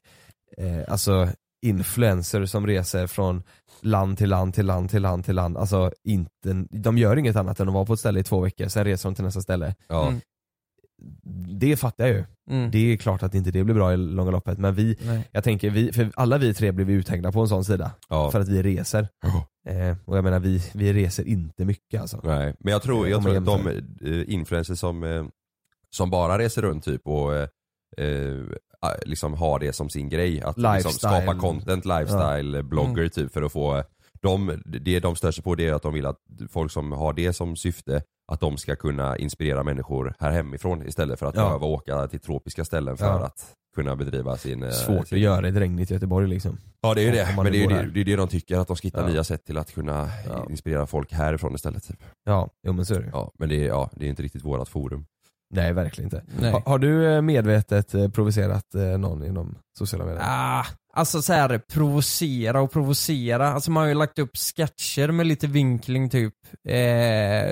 eh, alltså influencers som reser från land till land till land till land till land. Alltså inte, de gör inget annat än att vara på ett ställe i två veckor, sen reser de till nästa ställe. Ja. Mm. Det fattar jag ju. Mm. Det är klart att inte det blir bra i långa loppet men vi, Nej. jag tänker, vi, för alla vi tre blir vi uthängda på en sån sida. Ja. För att vi reser. Eh, och jag menar vi, vi reser inte mycket alltså. Nej, men jag tror, jag Om man tror att de eh, influencers som, eh, som bara reser runt typ och eh, eh, liksom har det som sin grej, att liksom Lifestyle. skapa content, lifestyle, blogger Mm. typ för att få de, det de stör sig på det är att de vill att folk som har det som syfte att de ska kunna inspirera människor här hemifrån istället för att Ja. behöva åka till tropiska ställen för Ja. att kunna bedriva sin... eh, Svårt sin... att göra i regnigt Göteborg liksom. Ja det är ju om det, man men nu det är ju bor det, här. det, är det de tycker, att de ska hitta Ja. nya sätt till att kunna Ja. inspirera folk härifrån istället. Typ. Ja, jo men så är det ju. Ja, men det är, ja, det är inte riktigt vårat forum. Nej verkligen inte. Nej. Ha, har du eh, medvetet eh, provocerat eh, någon inom sociala medier? Ah, alltså så här, provocera och provocera. Alltså man har ju lagt upp sketcher med lite vinkling typ. Eh,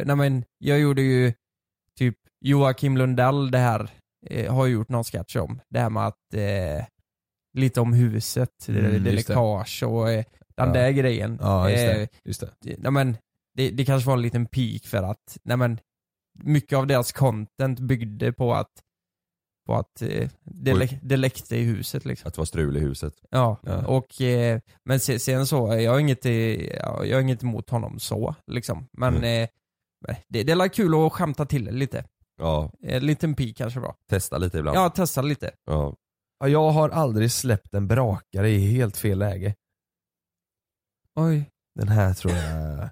nej men jag gjorde ju typ Joakim Lundell det här, eh, har jag gjort någon sketch om. Det här med att eh, lite om huset, det, Mm, det just det. läckage och eh, den Ja. där grejen. Ja just Eh, det. Just det. det- nej men, det, det kanske var en liten peak för att, nej men, mycket av deras content byggde på att, på att eh, det, Oj. läck, det läckte i huset liksom. Att det var strul i huset. Ja, Ja. och eh, men se- sen så, eh, jag har inget, eh, ja, jag har inget emot honom så liksom. Men eh, det, det är väl kul att skämta till det lite. Eh, Ja, En liten pik kanske bra. testa lite ibland. Ja, testa lite. Ja. Ja, Jag har aldrig släppt en brakare i helt fel läge. Oj. Den här tror jag...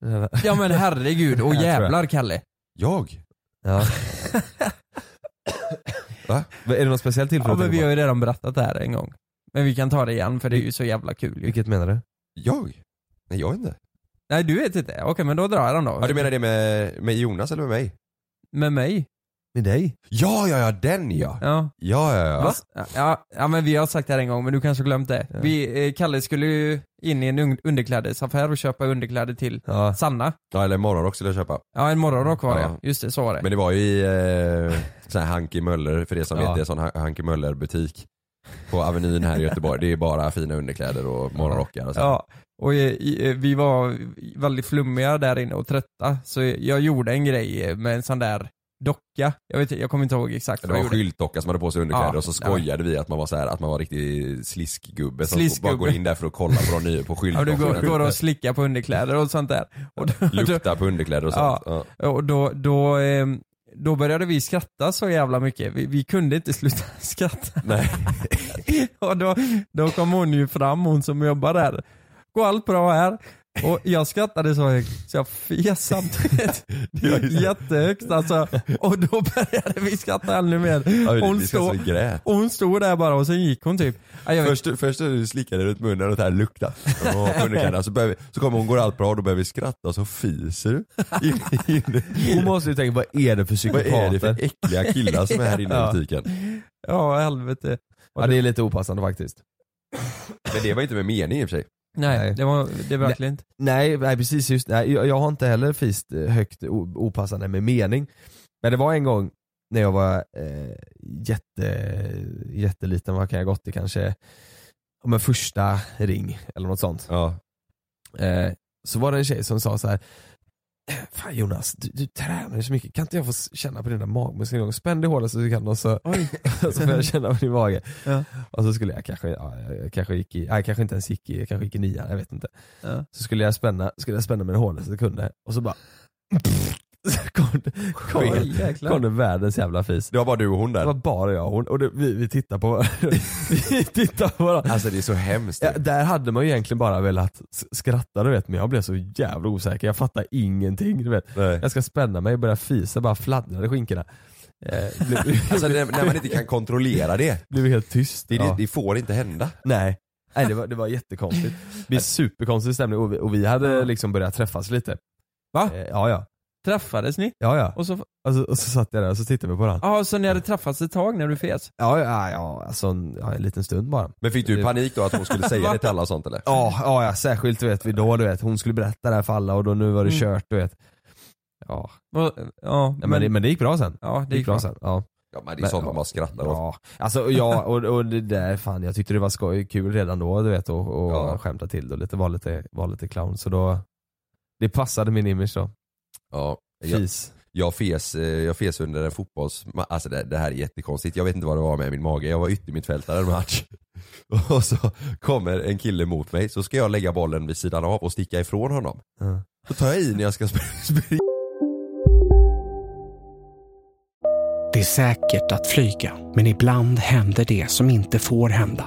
Den här- Ja men herregud, och Jag tror jag. jävlar Kalle. Jag? Ja. Va? Är det något speciellt tillfälle Ja, att men tänka vi på? har ju redan berättat det här en gång. Men vi kan ta det igen för det är ju så jävla kul ju. Vilket menar du? Jag? Nej jag inte. Nej du vet inte, okej men då drar jag den då. Ja du menar det med, med Jonas eller med mig? Med mig? Med dig? Ja, ja, ja den ja! Ja. Ja, ja, ja. Va? Ja, ja men vi har sagt det här en gång men du kanske har glömt det. Ja. Vi, eh, Kalle skulle ju in i en un- underklädesaffär och köpa underkläder till Ja. Sanna. Ja, eller morgonrock skulle jag köpa. Ja en morgonrock var det, Ja. just det så var det. Men det var ju i eh, sån här Hanke Möller, för er som Ja. vet det är sån Han- Hanke Möller butik. På Avenyn här i Göteborg. Det är bara fina underkläder och morgonrockar och så. Ja, och eh, i- eh, vi var väldigt flummiga där inne och trötta så jag gjorde en grej eh, med en sån där docka. Jag, vet, jag kommer inte ihåg exakt Det vad var jag en gjorde. skyltdocka som hade på sig underkläder Ja, och så skojade vi att man var så här, att man var riktig sliskgubbe som Sliskgubbe. bara går in där för att kolla på de nya på Ja, du skyltdockorna. går, går och slickar på underkläder och sånt där. Och då, då, Luktar på underkläder och sånt. Ja. Och då, då, ehm, då började vi skratta så jävla mycket. Vi, vi kunde inte sluta skratta. Nej. och då, då kom hon ju fram, hon som jobbar där. Går allt bra här? Och jag skrattade så högt så jag fes samtidigt. Jättehögt alltså. Och då började vi skratta ännu mer. Ja, Hon vi ska stod, så grät. och hon stod där bara och sen gick hon typ. Ja, jag vet- Först, först är du slickade runt munnen och det här lukta. Åh, underkläderna. Så, börjar vi, så kommer hon, går allt bra och då börjar vi skratta och så fiser du. In, in. Hon måste ju tänka, vad är det för Vad psykopater? är det för äckliga killar som är här inne i Ja. butiken? Ja helvete. Ja det är lite opassande faktiskt. Men det var inte med mening i och för sig. Nej det var det var verkligen inte. Nej, nej precis, just nej, jag, jag har inte heller fist eh, högt o- opassande med mening. Men det var en gång när jag var eh, jätte, jätteliten, vad kan jag gått i kanske, om en första ring eller något sånt. Ja. Eh, så var det en tjej som sa så här. Fan Jonas, du, du tränar ju så mycket, kan inte jag få s- känna på dina magmuskler en gång? Spänn dig hårdast du kan och så, så får jag känna på din mage. Ja. Och så skulle jag kanske, ja, jag kanske gick i, nej, jag kanske inte ens gick i, jag kanske gick i nian, jag vet inte. Ja. Så skulle jag spänna, skulle jag spänna mig hårdast jag kunde och så bara så kom, det- kom, Oj, det- jäklar. kom det världens jävla fis. Det var bara du och hon Det var där. bara jag och hon och det, vi, vi tittade på varandra. vi tittade på varandra. Alltså det är så hemskt. Ja, där hade man ju egentligen bara velat s- skratta du vet men jag blev så jävla osäker, jag fattar ingenting du vet. Nej. Jag ska spänna mig, börja fisa, bara fladdrade skinkorna. Eh, blev, Alltså när, när man inte kan kontrollera det. blev helt tyst. Det, Ja. det, det får inte hända. Nej. Nej det var, det var jättekonstigt. Vi är superkonstig stämning och vi, och vi hade liksom börjat träffas lite. Va? Eh, ja ja. Träffades ni? Ja ja. Och så, Och så, och så satt jag där och så tittade vi på varandra. ja så ni hade träffats ett tag när du fes? Ja, ja, ja alltså en, ja, en liten stund bara. Men fick du panik då att hon skulle säga det till alla och sånt eller? Ja, ja, ja särskilt du vet vi då du vet, hon skulle berätta det här för alla och då nu var det Mm. kört du vet. Ja, Och, ja Nej, men, det, men det gick bra sen. ja, Det gick bra sen. Ja. Ja, men det är sånt man bara skrattar åt. Ja, alltså ja, och, och det där fan jag tyckte det var skoj, kul redan då du vet och, och Ja. skämta till det och lite, var, lite, var lite clown så då Det passade min image då, Ja. Jag, fis. jag, fes, eh, jag fes under en fotbolls... Alltså det, det här är jättekonstigt. Jag vet inte vad det var med min mage. Jag var yttermittfältare en match. Och så kommer en kille mot mig. Så ska jag lägga bollen vid sidan av och sticka ifrån honom. Ja. Så tar jag i när jag ska sp- springa. Det är säkert att flyga, men ibland händer det som inte får hända.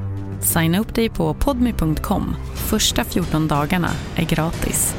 Signa upp dig på podmi.com. Första 14 dagarna är gratis.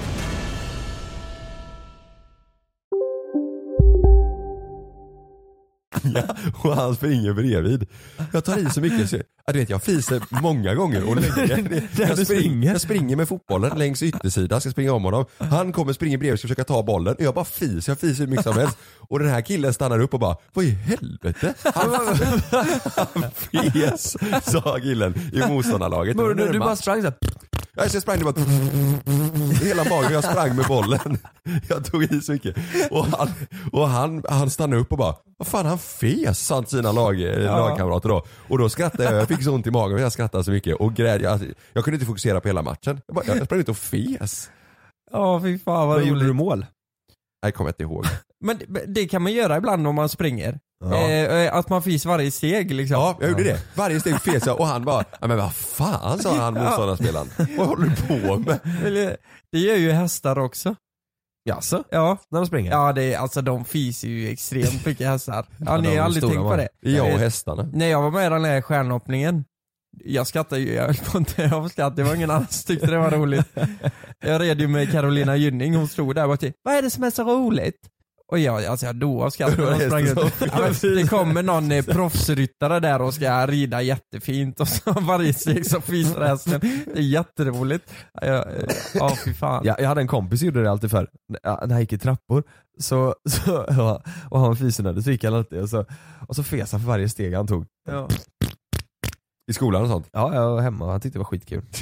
och hans finger bredvid. Jag tar i så mycket så ja, du vet jag fiser många gånger och länge. Jag, spring, jag springer med fotbollen längs yttersidan, ska springa om honom. Han kommer, springer bredvid, ska försöka ta bollen. Jag bara fiser, jag fiser hur mycket som helst. Och den här killen stannar upp och bara, vad i helvete? Han, han fes, sa killen i motståndarlaget. Men Under du, du match. bara sprang såhär, Ja, så jag sprang det bara hela magen, jag sprang med bollen. Jag tog i så mycket. Och han, och han, han stannade upp och bara, vad fan han fes, sa sina lag, eh, lagkamrater då. Och då skrattade jag, jag fick så ont i magen och jag skrattade så mycket och grät. Jag, jag kunde inte fokusera på hela matchen. Jag, bara, jag sprang ut och fes. Ja fy fan vad Men gjorde roligt. du mål? Nej, kommer jag inte ihåg. Men det- det kan man göra ibland om man springer. Eh, att man fiser varje steg liksom. Ja, jag gjorde det. Varje steg fes jag och han bara, "Ja, men vad fan sa han motståndarspelaren. Vad håller du på med? Eller, det gör ju hästar också. Jaså? Ja. När de springer? Ja, det är, alltså de fiser ju extremt mycket hästar. Ja, Ja, ni de har aldrig stora tänkt på var det. det. Jag och Eh, hästarna. När jag var med i den här stjärnhoppningen, jag skrattade ju, jag höll på att dö av skratt, det var ingen annan som tyckte det var roligt. Jag red ju med Carolina Gynning, hon stod där och bara typ, vad är det som är så roligt? Och jag, alltså jag dog av skratt när Det var hon sprang hästen ut. som- Ja, men Det kommer någon eh, proffsryttare där och ska rida jättefint och så varje steg så fiser hästen. Det är jätteroligt. Ja, eh, Ja, fy fan. Jag, jag hade en kompis som gjorde det alltid förr, när när han gick i trappor så, så, och han var fisnödig så gick han alltid och så, och så fes han för varje steg han tog. Ja. I skolan och sånt? Ja, jag var hemma och han tyckte det var skitkul.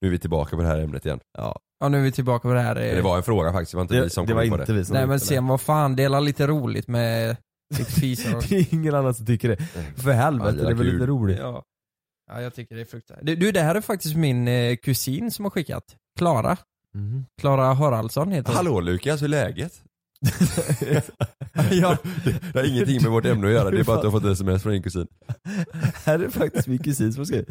Nu är vi tillbaka på det här ämnet igen. Ja. Ja nu är vi tillbaka på det här. eh, Det var en fråga faktiskt, det var inte Det- vi som det kom var in på inte det. vi som- Nej men sen vad fan, dela lite roligt med ditt fis och- det är ingen annan som tycker det. För helvete, det är väl lite roligt. Ja. ja, jag tycker det är fruktansvärt. Du, du, det här är faktiskt min eh, kusin som har skickat. Klara. Mhm. Klara Haraldsson heter hon. Hallå Lukas, hur är läget? ja. Det har ingenting med vårt ämne att göra, det är bara att du har fått ett sms från din kusin. Här är faktiskt min kusin som har skrivit.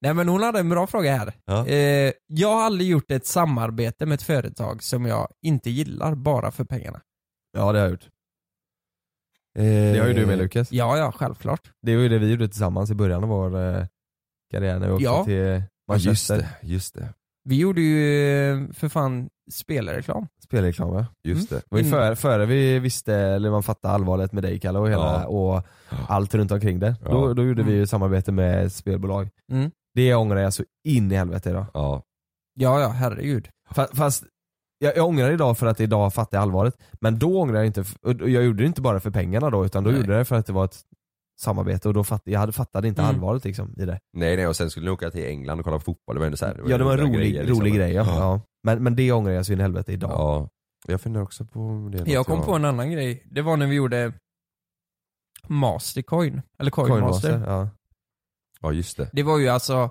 Nej men hon hade en bra fråga här. Ja. Eh, jag har aldrig gjort ett samarbete med ett företag som jag inte gillar bara för pengarna. Ja det har jag gjort. Eh, Det har ju du med Lukas. Ja, ja, självklart. Det var ju det vi gjorde tillsammans i början av vår eh, karriär när vi åkte Ja. till Ja, just Manchester. det, just det. Vi gjorde ju eh, för fan spelreklam. Spelreklam ja. Just det. var ju före, före vi visste, eller man fattade allvaret med dig Kalle och, hela, Ja. och allt runt omkring det. Ja. Mm. Då, då gjorde vi ju samarbete med ett spelbolag. Mm. Det ångrar jag så in i helvete idag. Ja. Ja, ja, herregud. Fast, fast jag, jag ångrar idag för att idag fattar jag allvaret. Men då ångrar jag inte, f- och jag gjorde det inte bara för pengarna då utan då Nej. gjorde jag det för att det var ett samarbete och då fatt, jag hade, fattade inte Mm. allvaret liksom, i det. Nej nej, och sen skulle ni åka till England och kolla på fotboll, det var ändå så här, ja det var en roliga rolig, grejer, liksom. rolig grej ja. ja. Men, men det ångrar jag så in i helvete idag. Ja. Jag funderar också på om det är något Typ Jag kom på en annan grej. Det var när vi gjorde Mastercoin. Eller Coinmaster. Coinmaster, ja. Ja just det. Det var ju alltså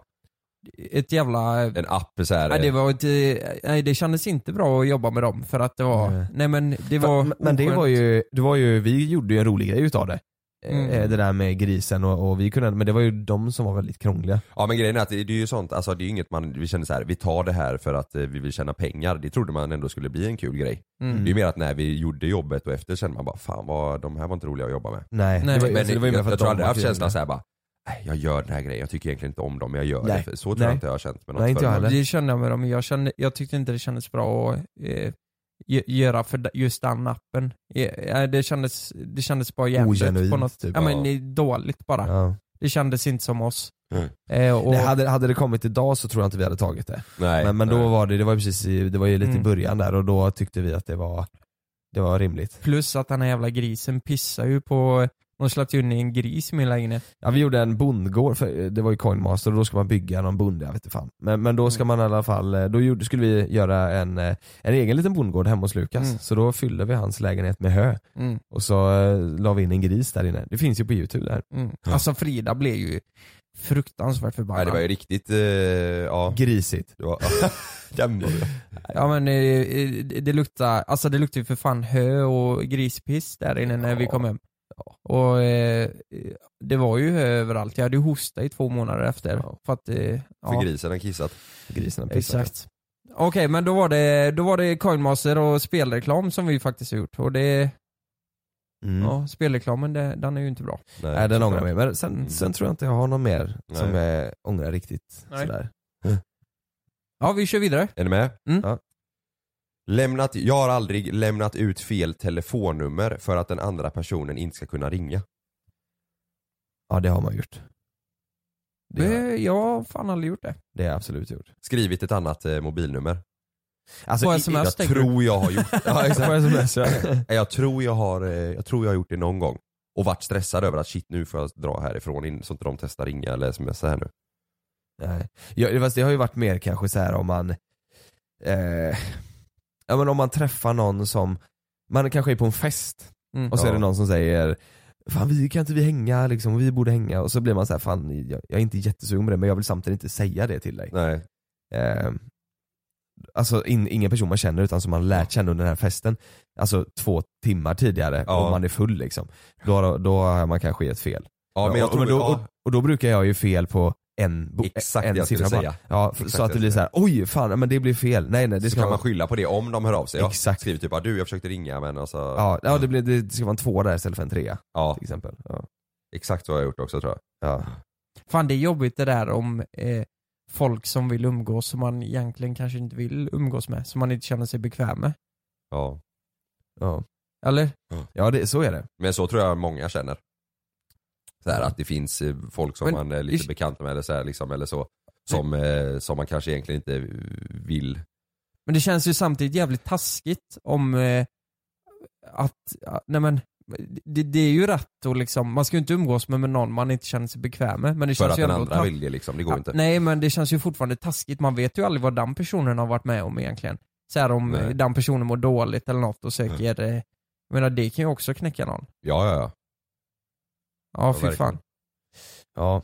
ett jävla... En app så här. Nej, det var ett, eh, nej det kändes inte bra att jobba med dem för att det var, nej, men det var Men, men det oskönt. var ju, det var ju, vi gjorde ju en rolig grej utav det. Mm. Eh, Det där med grisen och, och vi kunde, men det var ju de som var väldigt krångliga. Ja men grejen är att det, det är ju sånt, alltså det är ju inget man, vi känner så här, vi tar det här för att eh, vi vill tjäna pengar. Det trodde man ändå skulle bli en kul grej. Mm. Det är ju mer att när vi gjorde jobbet och efter kände man bara fan vad, de här var inte roliga att jobba med. Nej, Nej. det var ju- men alltså, det var ju mer jag, för jag att tror de aldrig jag var haft känslan kul. såhär bara, "Nej, jag gör den här grejen, jag tycker egentligen inte om dem men jag gör Nej. det. För Så tror Nej. jag inte jag har känt med något Nej, inte jag företag. heller. Det kände jag med dem, jag, kände, jag tyckte inte det kändes bra att eh, gö- göra för d- just den appen. Eh, eh, Det kändes, det kändes bara jävligt på Ogenuint, något, typ. ja, men Ja. det är dåligt bara. Ja. Det kändes inte som oss. Mm. Eh, och, Nej, hade, hade det kommit idag så tror jag inte vi hade tagit det. Nej, men men då nej. var det, det var ju precis i, det var ju lite Mm. i början där och då tyckte vi att det var, det var rimligt. Plus att den här jävla grisen pissar ju på, de släppte ju in en gris i min lägenhet. Ja, vi gjorde en bondgård, för eh, det var ju coinmaster och då ska man bygga någon bonde, jag vet inte fan. Men, men då ska Mm. man i alla fall, eh, då gjorde, skulle vi göra en, eh, en egen liten bondgård hemma hos Lukas. Mm. Så då fyllde vi hans lägenhet med hö. Mm. Och så eh, la vi in en gris där inne. Det finns ju på youtube där. Mm. Alltså Frida blev ju fruktansvärt förbannad. Nej det var ju riktigt, eh, ja. Grisigt. Det var, Den var det. Ja men eh, eh, det luktar, alltså det luktar ju för fan hö och grispiss där inne när vi kom hem. Och eh, det var ju hö överallt, jag hade ju hosta i två månader efter. För att, eh, För ja, grisen har kissat. Grisen har pissat. Exakt. Okej men då var, det, då var det coinmaster och spelreklam som vi faktiskt har gjort och det, Mm. ja spelreklamen det, den är ju inte bra. Nej, Äh, den ångrar mig. Men sen, sen tror jag inte jag har någon mer som jag ångrar riktigt Nej. sådär. Ja vi kör vidare. Är ni med? Mm. Ja. Lämnat, jag har aldrig lämnat ut fel telefonnummer för att den andra personen inte ska kunna ringa. Ja det har man gjort. Det har, Det, jag har fan aldrig gjort det. det har jag absolut gjort. Skrivit ett annat eh, mobilnummer. Alltså, På i- sms jag tänker du? tror jag har gjort det. Ja, exakt. På sms, ja. Nej, jag, tror jag, har, eh, jag tror jag har gjort det någon gång. Och varit stressad över att shit nu får jag dra härifrån in, så inte de testar ringa eller smsa här nu. Nej. Ja, fast det har ju varit mer kanske så här om man eh, Ja men om man träffar någon som Man kanske är på en fest Mm. och så är det Ja. någon som säger Fan vi kan inte vi hänga liksom, vi borde hänga och så blir man så här, fan jag, jag är inte jättesugen på det men jag vill samtidigt inte säga det till dig. Nej. Eh, alltså in, ingen person man känner utan som man lärt känna under den här festen. Alltså två timmar tidigare Ja. om man är full liksom. Då, har- då har man kanske gett fel. Ja, men jag och, tror- då, ja. och, och då brukar jag ju fel på en, bo- Exakt en det jag skulle siffra bara. säga. Ja, f- Exakt så att det det blir jag så här: oj fan, men det blir fel. Nej nej det så ska kan vara man skylla på det om de hör av sig. Ja. Exakt. Skriver typ bara du jag försökte ringa men alltså. Ja, ja det, blir, det ska vara en tvåa där istället för en trea. Ja. Till exempel. Ja. Exakt så har jag gjort också tror jag. Ja. Fan det är jobbigt det där om eh, folk som vill umgås som man egentligen kanske inte vill umgås med, som man inte känner sig bekväm med. Ja. Ja. Eller? Ja det, så är det. Men så tror jag många känner. Så här, att det finns eh, folk som Mm. Men- man är lite bekant med eller så, här, liksom, eller så som, eh, som man kanske egentligen inte eh, vill. Men det känns ju samtidigt jävligt taskigt om eh, att, ja, nej men, det, det är ju rätt och liksom, man ska ju inte umgås med, med någon man inte känner sig bekväm med. Men det För känns att ju den ändå andra ta- vill det liksom, det går Ja, inte. Nej men det känns ju fortfarande taskigt, man vet ju aldrig vad den personen har varit med om egentligen. Så här om Nej. eh, den personen mår dåligt eller något och söker, Mm. eh, jag menar det kan ju också knäcka någon. Ja ja ja. Ja, fy fan. Ja.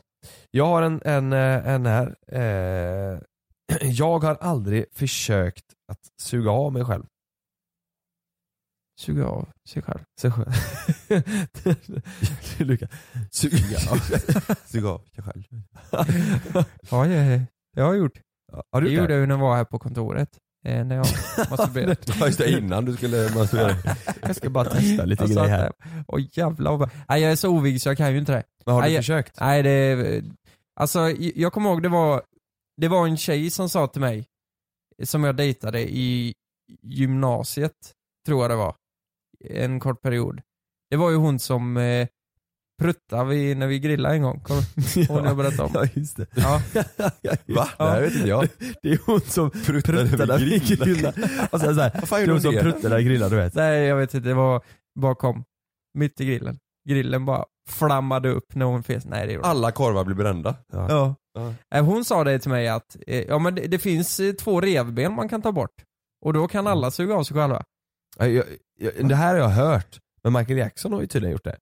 Jag har en, en, eh, en här. Eh, jag har aldrig försökt att suga av mig själv. Suga av sig själv? Sig själv. Luka. Suga av. Suga av sig själv. Ja, jag, jag har gjort. har du det gjort gjorde det? jag ju när jag var här på kontoret. Eh, när jag masturberade. Ja, just det, innan du skulle masturbera. Jag ska bara testa lite Jag satt grejer här. där. Åh jävlar vad... Nej jag är så ovig så jag kan ju inte det. Men har du nej, jag- försökt? Nej det... Alltså j- jag kommer ihåg det var... Det var en tjej som sa till mig, som jag dejtade i gymnasiet, tror jag det var. En kort period. Det var ju hon som eh, pruttade vi, när vi grillade en gång. Kommer hon jag berättade om? Ja just det. Ja. Va? Ja. Det här vet inte jag. Det är hon som Pruttade vid pruttade vid grillar. grillar. Och sen så här, Vad det fan är gjorde hon hon som det? pruttade vid grillar du vet. Nej jag vet inte, det var bakom. Mitt i grillen. Grillen bara flammade upp när hon fes. Nej det gjorde Alla korvar blir brända. Ja. Eh, Hon sa det till mig att eh, ja, men det, det finns eh, två revben man kan ta bort. Och då kan alla suga av sig själva. Jag, jag, jag, det här har jag hört, men Michael Jackson har ju tydligen gjort det.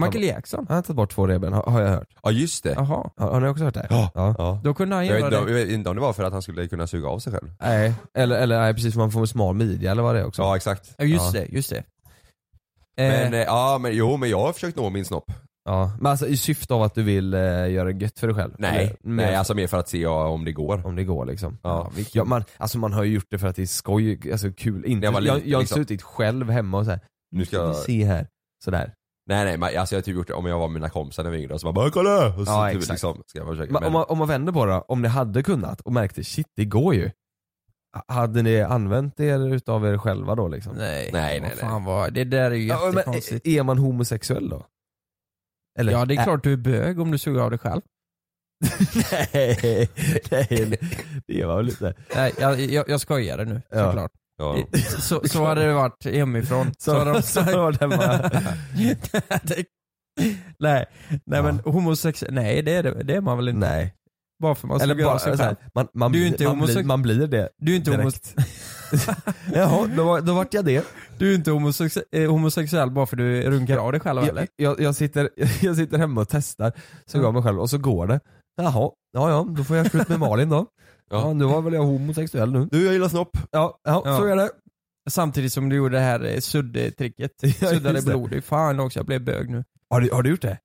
Michael Jackson? Han har tagit bort två revben, har, har jag hört. Ja just det. Jaha. Har, har ni också hört det? Ja. Då kunde han Jag vet, göra inte, om- det. jag vet inte om det var för att han skulle kunna suga av sig själv. Nej, eller, eller nej, precis, man får en smal midja eller vad det är också. Ja exakt. Ja, just Ja. det, just det. Men, eh, ja, men jo men jag har försökt nå min snopp. Ja, men alltså i syfte av att du vill eh, göra det gött för dig själv? Nej, typ. Eller mer- nej alltså mer för att se ja, om det går. Om det går liksom. Ja. Ja, man, alltså man har ju gjort det för att det är skoj, alltså kul. Inte, jag var jag, jag, liten, har liksom. suttit själv hemma och så här. Nu ska jag- se här. Sådär. Nej nej, men, alltså jag har typ gjort det om jag var med mina kompisar när vi var yngre, så man bara 'kolla!' Och så Ja, typ, exakt. liksom, ska jag försöka. Men, om, man, om man vänder på det då, om ni hade kunnat och märkte shit det går ju. H- Hade ni använt er utav er själva då liksom? Nej, Nej, vad nej, fan vad, det där är ju Ja, men, eh, jättekonstigt. är man homosexuell då? Eller? Ja det är Ä- klart du är bög om du suger av dig själv. nej, nej, det var väl inte. Nej, jag, jag, jag skojade nu Ja. såklart. Ja. Så, så hade det varit hemifrån. Så, hade de- så var det hemma. Det- nej, nej men homosexuell, nej det är, det, det är man väl inte? Nej. Bara för man Eller suger av bara alltså, sig så själv. här, man, man, Du är blir- inte man, blir, homosexuell. man blir det. Du är inte direkt. homose- Jaha, då, var, då vart jag det. Du är inte homosex- eh, homosexuell bara för du runkar av dig själv eller? Jag, jag, jag, sitter, jag sitter hemma och testar, så går jag mig själv och så går det. Jaha, ja ja, då får jag slut med Malin då. Ja, nu var väl jag homosexuell nu. Du jag gillar snopp. Ja, ja, Ja. så är det. Samtidigt som du gjorde det här eh, suddetricket. Suddade just det. blod. i Fan också, jag blev bög nu. Har du, har du gjort det?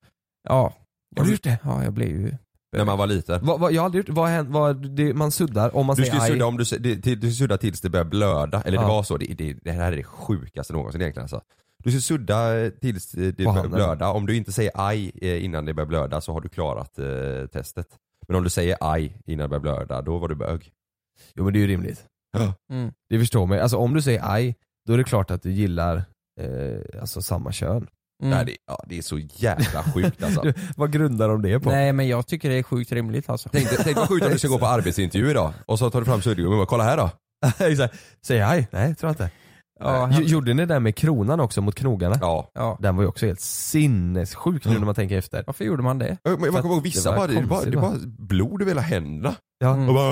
Ja. Har du gjort det? Ja, jag blev ju... När man var liten. Vad, vad, jag har aldrig gjort vad, hän- vad det, man suddar om man Du säger ska ju aj. sudda, om du, s- det- till- du ska sudda tills det börjar blöda, eller Ja. det var så, det, det, det här är det sjukaste någonsin egentligen alltså. Du ska sudda eh, tills eh, det På börjar handen. blöda, om du inte säger aj eh, innan det börjar blöda så har du klarat eh, testet. Men om du säger aj innan det börjar blöda, då var du bög. Jo men det är ju rimligt. Mm. Det förstår man ju. Alltså om du säger aj, då är det klart att du gillar eh, alltså samma kön. Mm. Nej, det, ja, det är så jävla sjukt alltså. Du, vad grundar de det på? Nej men jag tycker det är sjukt rimligt alltså. Tänk, tänk vad sjukt om du ska gå på arbetsintervju idag och så tar du fram suddgummin och bara kolla här då. Exakt. Säger jag aj? Nej, tror jag inte. Ja, Gj- han- Gjorde ni det där med kronan också mot knogarna? Ja. ja. Den var ju också helt sinnessjuk nu när man tänker efter. Varför gjorde man det? Men Jag För att kommer ihåg vissa det var bara, det var, konstigt, Mm. det var blod över hela händerna. Ja. Mm. Och bara,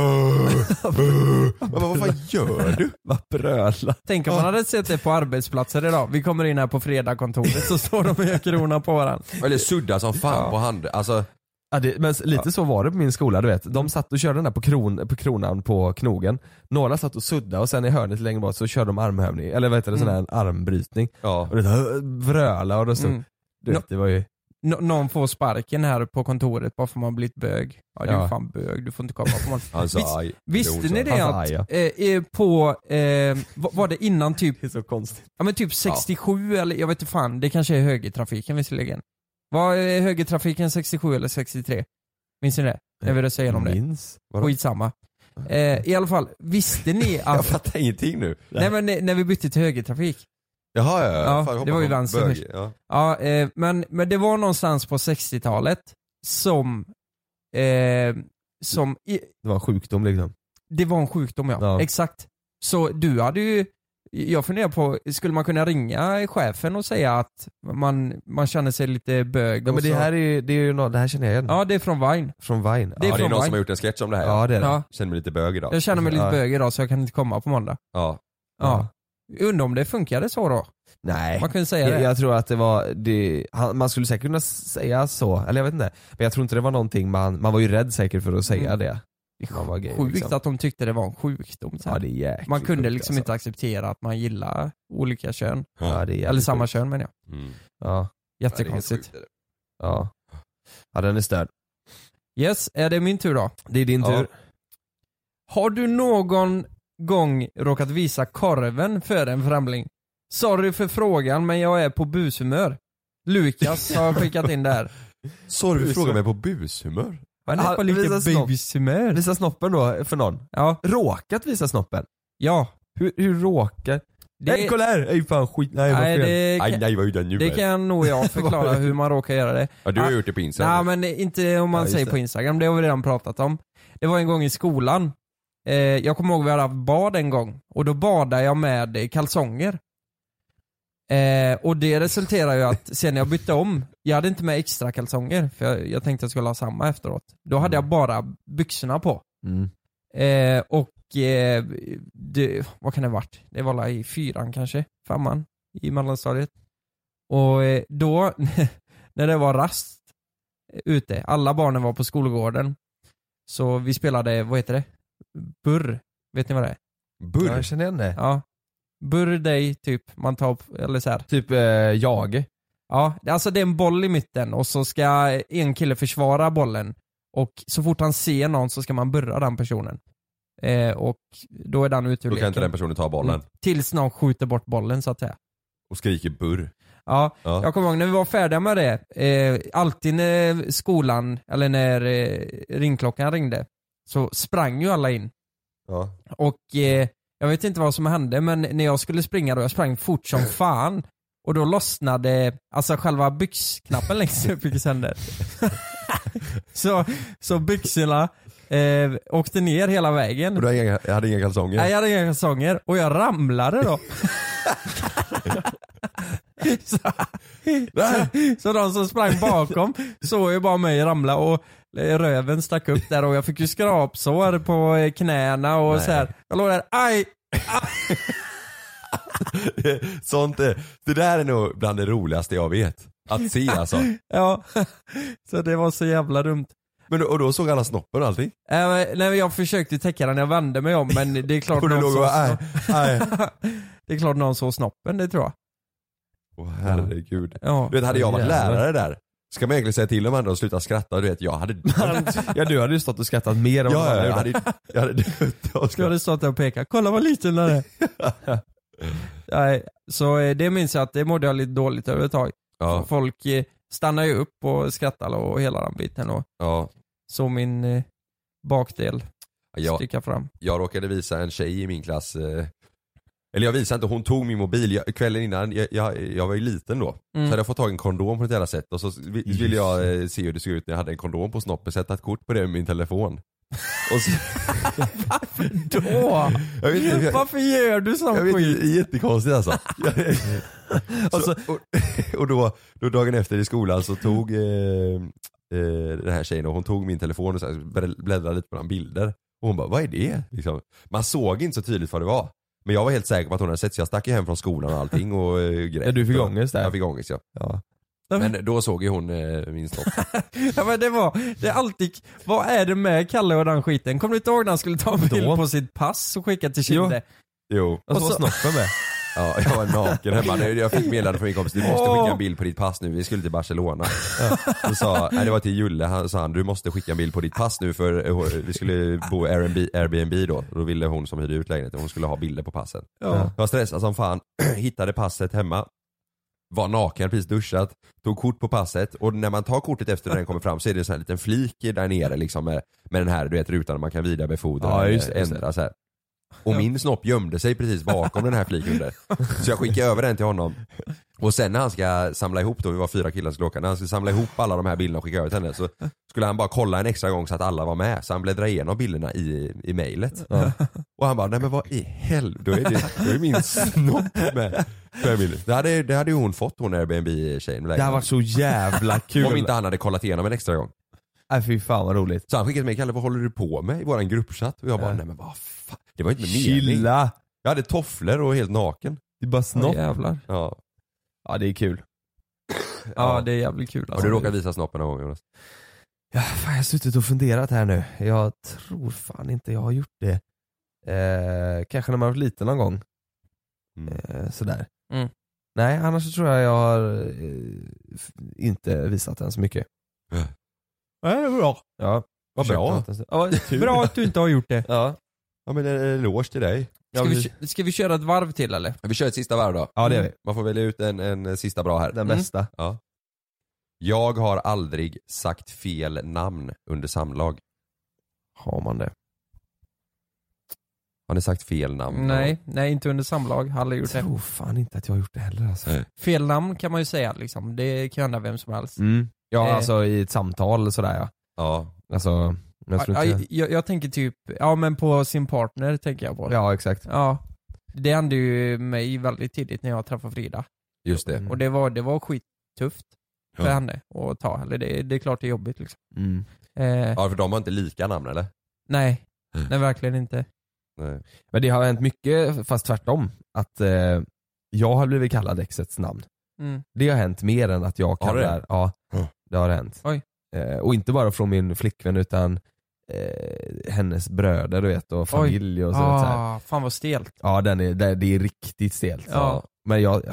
Man bara, vad fan gör du? Vad bröla. Tänk om man hade sett det på arbetsplatser idag. Vi kommer in här på fredagskontoret så står de med krona på varandra. Eller sudda som fan Ja. på handen. Alltså, Ja, det, men s- lite så var det på min skola, du vet. De satt och körde den där på, kron, på kronan på knogen. Några satt och suddade och sen i hörnet längre bort så körde de armhävning, eller vad heter det, sån här armbrytning. ja. Och det, där, vröla och det stod, Mm. Mm. du vet, det var ju Nå- någon får sparken här på kontoret bara för man har blivit bög. Ja, du är Ja. fan bög, du får inte komma på morgonen. Han sa aj. Visste ni Han det sa att aj, ja. eh, eh, på, eh, va- var det innan typ... Det är så konstigt. Ja men typ 67 eller jag vet inte fan, det kanske är högertrafiken visserligen. Var eh, högertrafiken 67 eller 63? Minns ni det? När vi röstade igenom det. Minns. Vadå? Skitsamma. Eh, I alla fall, visste ni att... Jag fattar ingenting nu. Nej men eh, när vi bytte till högertrafik. Jaha ja, ja. Ja, Fan, jag hoppar det var ju på vänster bög, först. ja. Ja, eh, men, men det var någonstans på 60-talet som, eh, som i, Det var en sjukdom liksom. det var en sjukdom ja. Ja. Exakt. Så du hade ju, jag funderar på, skulle man kunna ringa chefen och säga att man, man känner sig lite bög? Ja, och men det så- här, är, ju- det, är ju nå- det här känner jag igen. Ja, det är från Vine. Från Vine. Det är ja, det är från någon som Vine. har gjort en sketch om det här. Ja, det är det. Ja. Känner mig lite bög idag. Jag känner mig lite bög idag så jag kan inte komma på måndag. Ja. Ja. Undrar om det funkade så då? Nej. Man kunde säga det. Jag, jag tror att det var, det, han, man skulle säkert kunna säga så, eller jag vet inte. Men jag tror inte det var någonting man, man var ju rädd säkert för att säga Mm. det. Man var gay, Sjukt liksom. att de tyckte det var en sjukdom. Så här. Ja, det är jäkligt man kunde sjukt, liksom alltså. inte acceptera att man gillar olika kön. Ja, det är jävligt Eller samma sjukt. kön menar jag. Mm. Ja. Jättekonstigt. Ja, ja. ja, den är störd. Yes, är det min tur då? Det är din Ja. tur. Har du någon gång råkat visa korven för en främling? Sorry för frågan men jag är på bushumör. Lukas har skickat in det här. Sorry, du frågar mig på bushumör? Han är på lite babyshumör. Visa snoppen då eh, för någon? Ja. Råkat visa snoppen? Ja. Hur, hur råkar? Det- Nej kolla här! Ej fan skit, nej vad Nej, fel. det kan- Aj, nej vad gjorde jag nu? Det kan nog jag förklara hur man råkar göra det. Ja, du har Ah, gjort det på Instagram. Nej men inte om Ja, man just säger det. på Instagram, det har vi redan pratat om. Det var en gång i skolan, eh, jag kommer ihåg vi hade haft bad en gång och då badade jag med eh, kalsonger. Eh, och det resulterade ju att sen när jag bytte om, jag hade inte med extra kalsonger för jag, jag tänkte jag skulle ha samma efteråt. Då Mm. hade jag bara byxorna på. Mm. Eh, och eh, det, vad kan det ha varit? Det var väl i fyran kanske, femman i mellanstadiet. Och eh, då, när det var rast ute, alla barnen var på skolgården. Så vi spelade, vad heter det? Burr. Vet ni vad det är? Burr? Ja, jag känner igen det. Ja. Burr dig, typ. Man tar, upp- eller så här. Typ jag? Ja, det- alltså det är en boll i mitten och så ska en kille försvara bollen. Och så fort han ser någon så ska man burra den personen. Eh, och då är den ute ur Då kan inte den leken. personen ta bollen. Mm. Tills någon skjuter bort bollen så att säga. Och skriker burr. Ja, Ja. jag kommer ihåg när vi var färdiga med det, eh, alltid när skolan, eller när eh, ringklockan ringde, så sprang ju alla in. Ja. Och eh, jag vet inte vad som hände men när jag skulle springa då, jag sprang fort som fan. Och då lossnade alltså själva byxknappen längst upp i händer. så, så byxorna eh, åkte ner hela vägen. Och du hade inga, jag hade inga kalsonger? Nej, jag hade inga kalsonger och jag ramlade då. så, så, så de som sprang bakom såg ju bara mig ramla och eh, röven stack upp där och jag fick ju skrapsår på eh, knäna och Nej. så här. Jag låg där, aj! Sånt är, det där är nog bland det roligaste jag vet. Att se alltså. Ja, så det var så jävla dumt. Men, och då såg alla snoppen och allting? Äh, men- nej, men jag försökte täcka den, jag vände mig om men det är klart Och du någon låg och såg bara, snopp- Det är klart någon såg snoppen, det tror jag. Åh herregud. Ja. Du vet, hade jag varit Jävlar. lärare där, ska man egentligen säga till de andra att sluta skratta? Du vet, jag hade Ja du hade ju stått och skrattat mer än vad Ja, alla jag gjorde. hade, jag hade dött av Ska jag skratt. hade stått där och pekat, kolla vad liten den är. Nej, så eh, det minns jag att det mådde jag lite dåligt över ett tag. Ja. För Folk eh, stannade ju upp och skrattade och hela den biten och Ja. så min eh, bakdel Ja. sticka fram. Jag råkade visa en tjej i min klass, eh, eller jag visade inte, hon tog min mobil jag, kvällen innan, jag, jag, jag var ju liten då. Mm. Så hade jag fått tag i en kondom på ett jävla sätt och så vi- ville jag eh, se hur det såg ut när jag hade en kondom på snoppen, sätta ett kort på det med min telefon. Och så, Åh, jag vet inte, jag, varför gör du sån jag vet skit? inte, det är jättekonstigt alltså. Jag- så, och och då, då dagen efter i skolan så tog eh, eh, den här tjejen och hon tog min telefon och så här bläddrade lite bland bilder. Och hon bara, vad är det? Liksom. Man såg inte så tydligt vad det var. Men jag var helt säker på att hon hade sett så jag stack ju hem från skolan och allting och eh, grät. Ja, du fick Och- ångest där. Jag fick ångest ja. Ja. Men då såg ju hon eh, min snopp. Ja, men det var, det är alltid, vad är det med Kalle och den skiten? Kommer du inte ihåg när han skulle ta en bild på sitt pass och skicka till Kille? Jo. Och så- snoppen med. Ja, jag var naken hemma. Nu- Jag fick meddelande från min kompis, du måste skicka en bild på ditt pass nu, vi skulle till Barcelona. Så sa, nej, det var till Julle, han sa han, du måste skicka en bild på ditt pass nu för eh, vi skulle bo Airbnb, Airbnb då. Då ville hon som hyrde ut lägenheten, hon skulle ha bilder på passet. Ja. Jag var stressad som fan, hittade passet hemma. Var naken, precis duschat, tog kort på passet och när man tar kortet efter när den kommer fram så är det en sån här liten flik där nere liksom med, med den här du vet, rutan man kan vidarebefordra Ja, eller just det, just det. ändra så här. Och min snopp gömde sig precis bakom den här fliken där. Så jag skickade över den till honom. Och sen när han ska samla ihop då, vi var fyra killar som skulle åka, när han ska samla ihop alla de här bilderna och skicka över till henne så skulle han bara kolla en extra gång så att alla var med. Så han bläddrade igenom bilderna i, i mejlet. Och han bara, nej men vad i helvete, då är, det, då är min snopp med. Fem bilder. Det hade, det hade ju hon fått hon Airbnb-tjejen. med Det hade lägenheten. varit så jävla kul. Om inte han hade kollat igenom en extra gång. Nej fy fan vad roligt. Så han skickade till mig, Kalle vad håller du på med i våran gruppchatt? Och jag bara, Ja. nej men vad fan. Det var ju inte med Chilla. Jag hade tofflor och var helt naken. Det är bara snopp. Ja, jävlar. Ja. ja det är kul. Ja, det är jävligt kul Har alltså. du råkat visa snoppen någon gång Jonas? Ja, fan, jag har suttit och funderat här nu. Jag tror fan inte jag har gjort det. Eh, kanske när man var liten någon gång. Eh, sådär. Mm. Nej, annars så tror jag jag har eh, f- inte visat den så mycket. Nej, det var bra. Ja. Äh. Vad Försökt bra. något en stund. Ja, vad tur. Bra att du inte har gjort det. Ja. Ja men en eloge till dig. Ska, vi, kö- ska vi köra ett varv till eller? Vi kör ett sista varv då. Mm. Ja, det gör vi. Man får välja ut en, en sista bra här. Den Mm. bästa. Ja. Jag har aldrig sagt fel namn under samlag. Har man det? Har ni sagt fel namn? Nej, nej inte under samlag. Har aldrig gjort Jag tror det. fan inte att jag har gjort det heller alltså. Fel namn kan man ju säga liksom. Det kan hända vem som helst. Mm. Ja, Eh. alltså i ett samtal eller sådär ja. Ja. Alltså, jag tror Ja, inte... jag, jag tänker typ, ja men på sin partner tänker jag på. Ja, exakt. Ja. Det hände ju mig väldigt tidigt när jag träffade Frida. Just Mm. det. Och det var, det var skittufft för Ja. henne att ta. Eller det, det är klart det är jobbigt liksom. Mm. Eh, Ja för de har inte lika namn eller? Nej, Mm. nej verkligen inte. Nej. Men det har hänt mycket, fast tvärtom. Att eh, jag har blivit kallad exets namn. Mm. Det har hänt mer än att jag Har det? kallar... Ja, det har hänt. Oj. Eh, och inte bara från min flickvän utan eh, hennes bröder du vet och familj och så, ah, så här. Fan vad stelt. Ja den är, det, det är riktigt stelt. Ja. Men jag,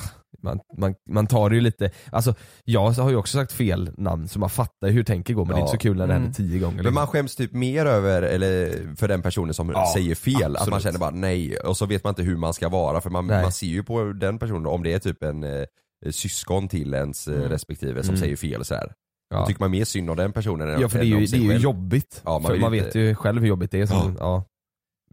man, man, man tar det ju lite, alltså jag har ju också sagt fel namn så man fattar ju hur tänker går men det är Ja. inte så kul när det Mm. händer tio gånger. Men liksom. man skäms typ mer över, eller för den personen som Ja, säger fel, att man absolut. känner bara nej och så vet man inte hur man ska vara för man, Nej. man ser ju på den personen om det är typ en eh, syskon till ens eh, Mm. respektive som Mm. säger fel så här. Ja. Då tycker man mer synd om den personen än Ja för det är än ju, om det sig är ju själv. jobbigt. Ja, man för vill man inte- vet ju själv hur jobbigt det är. Som, ja.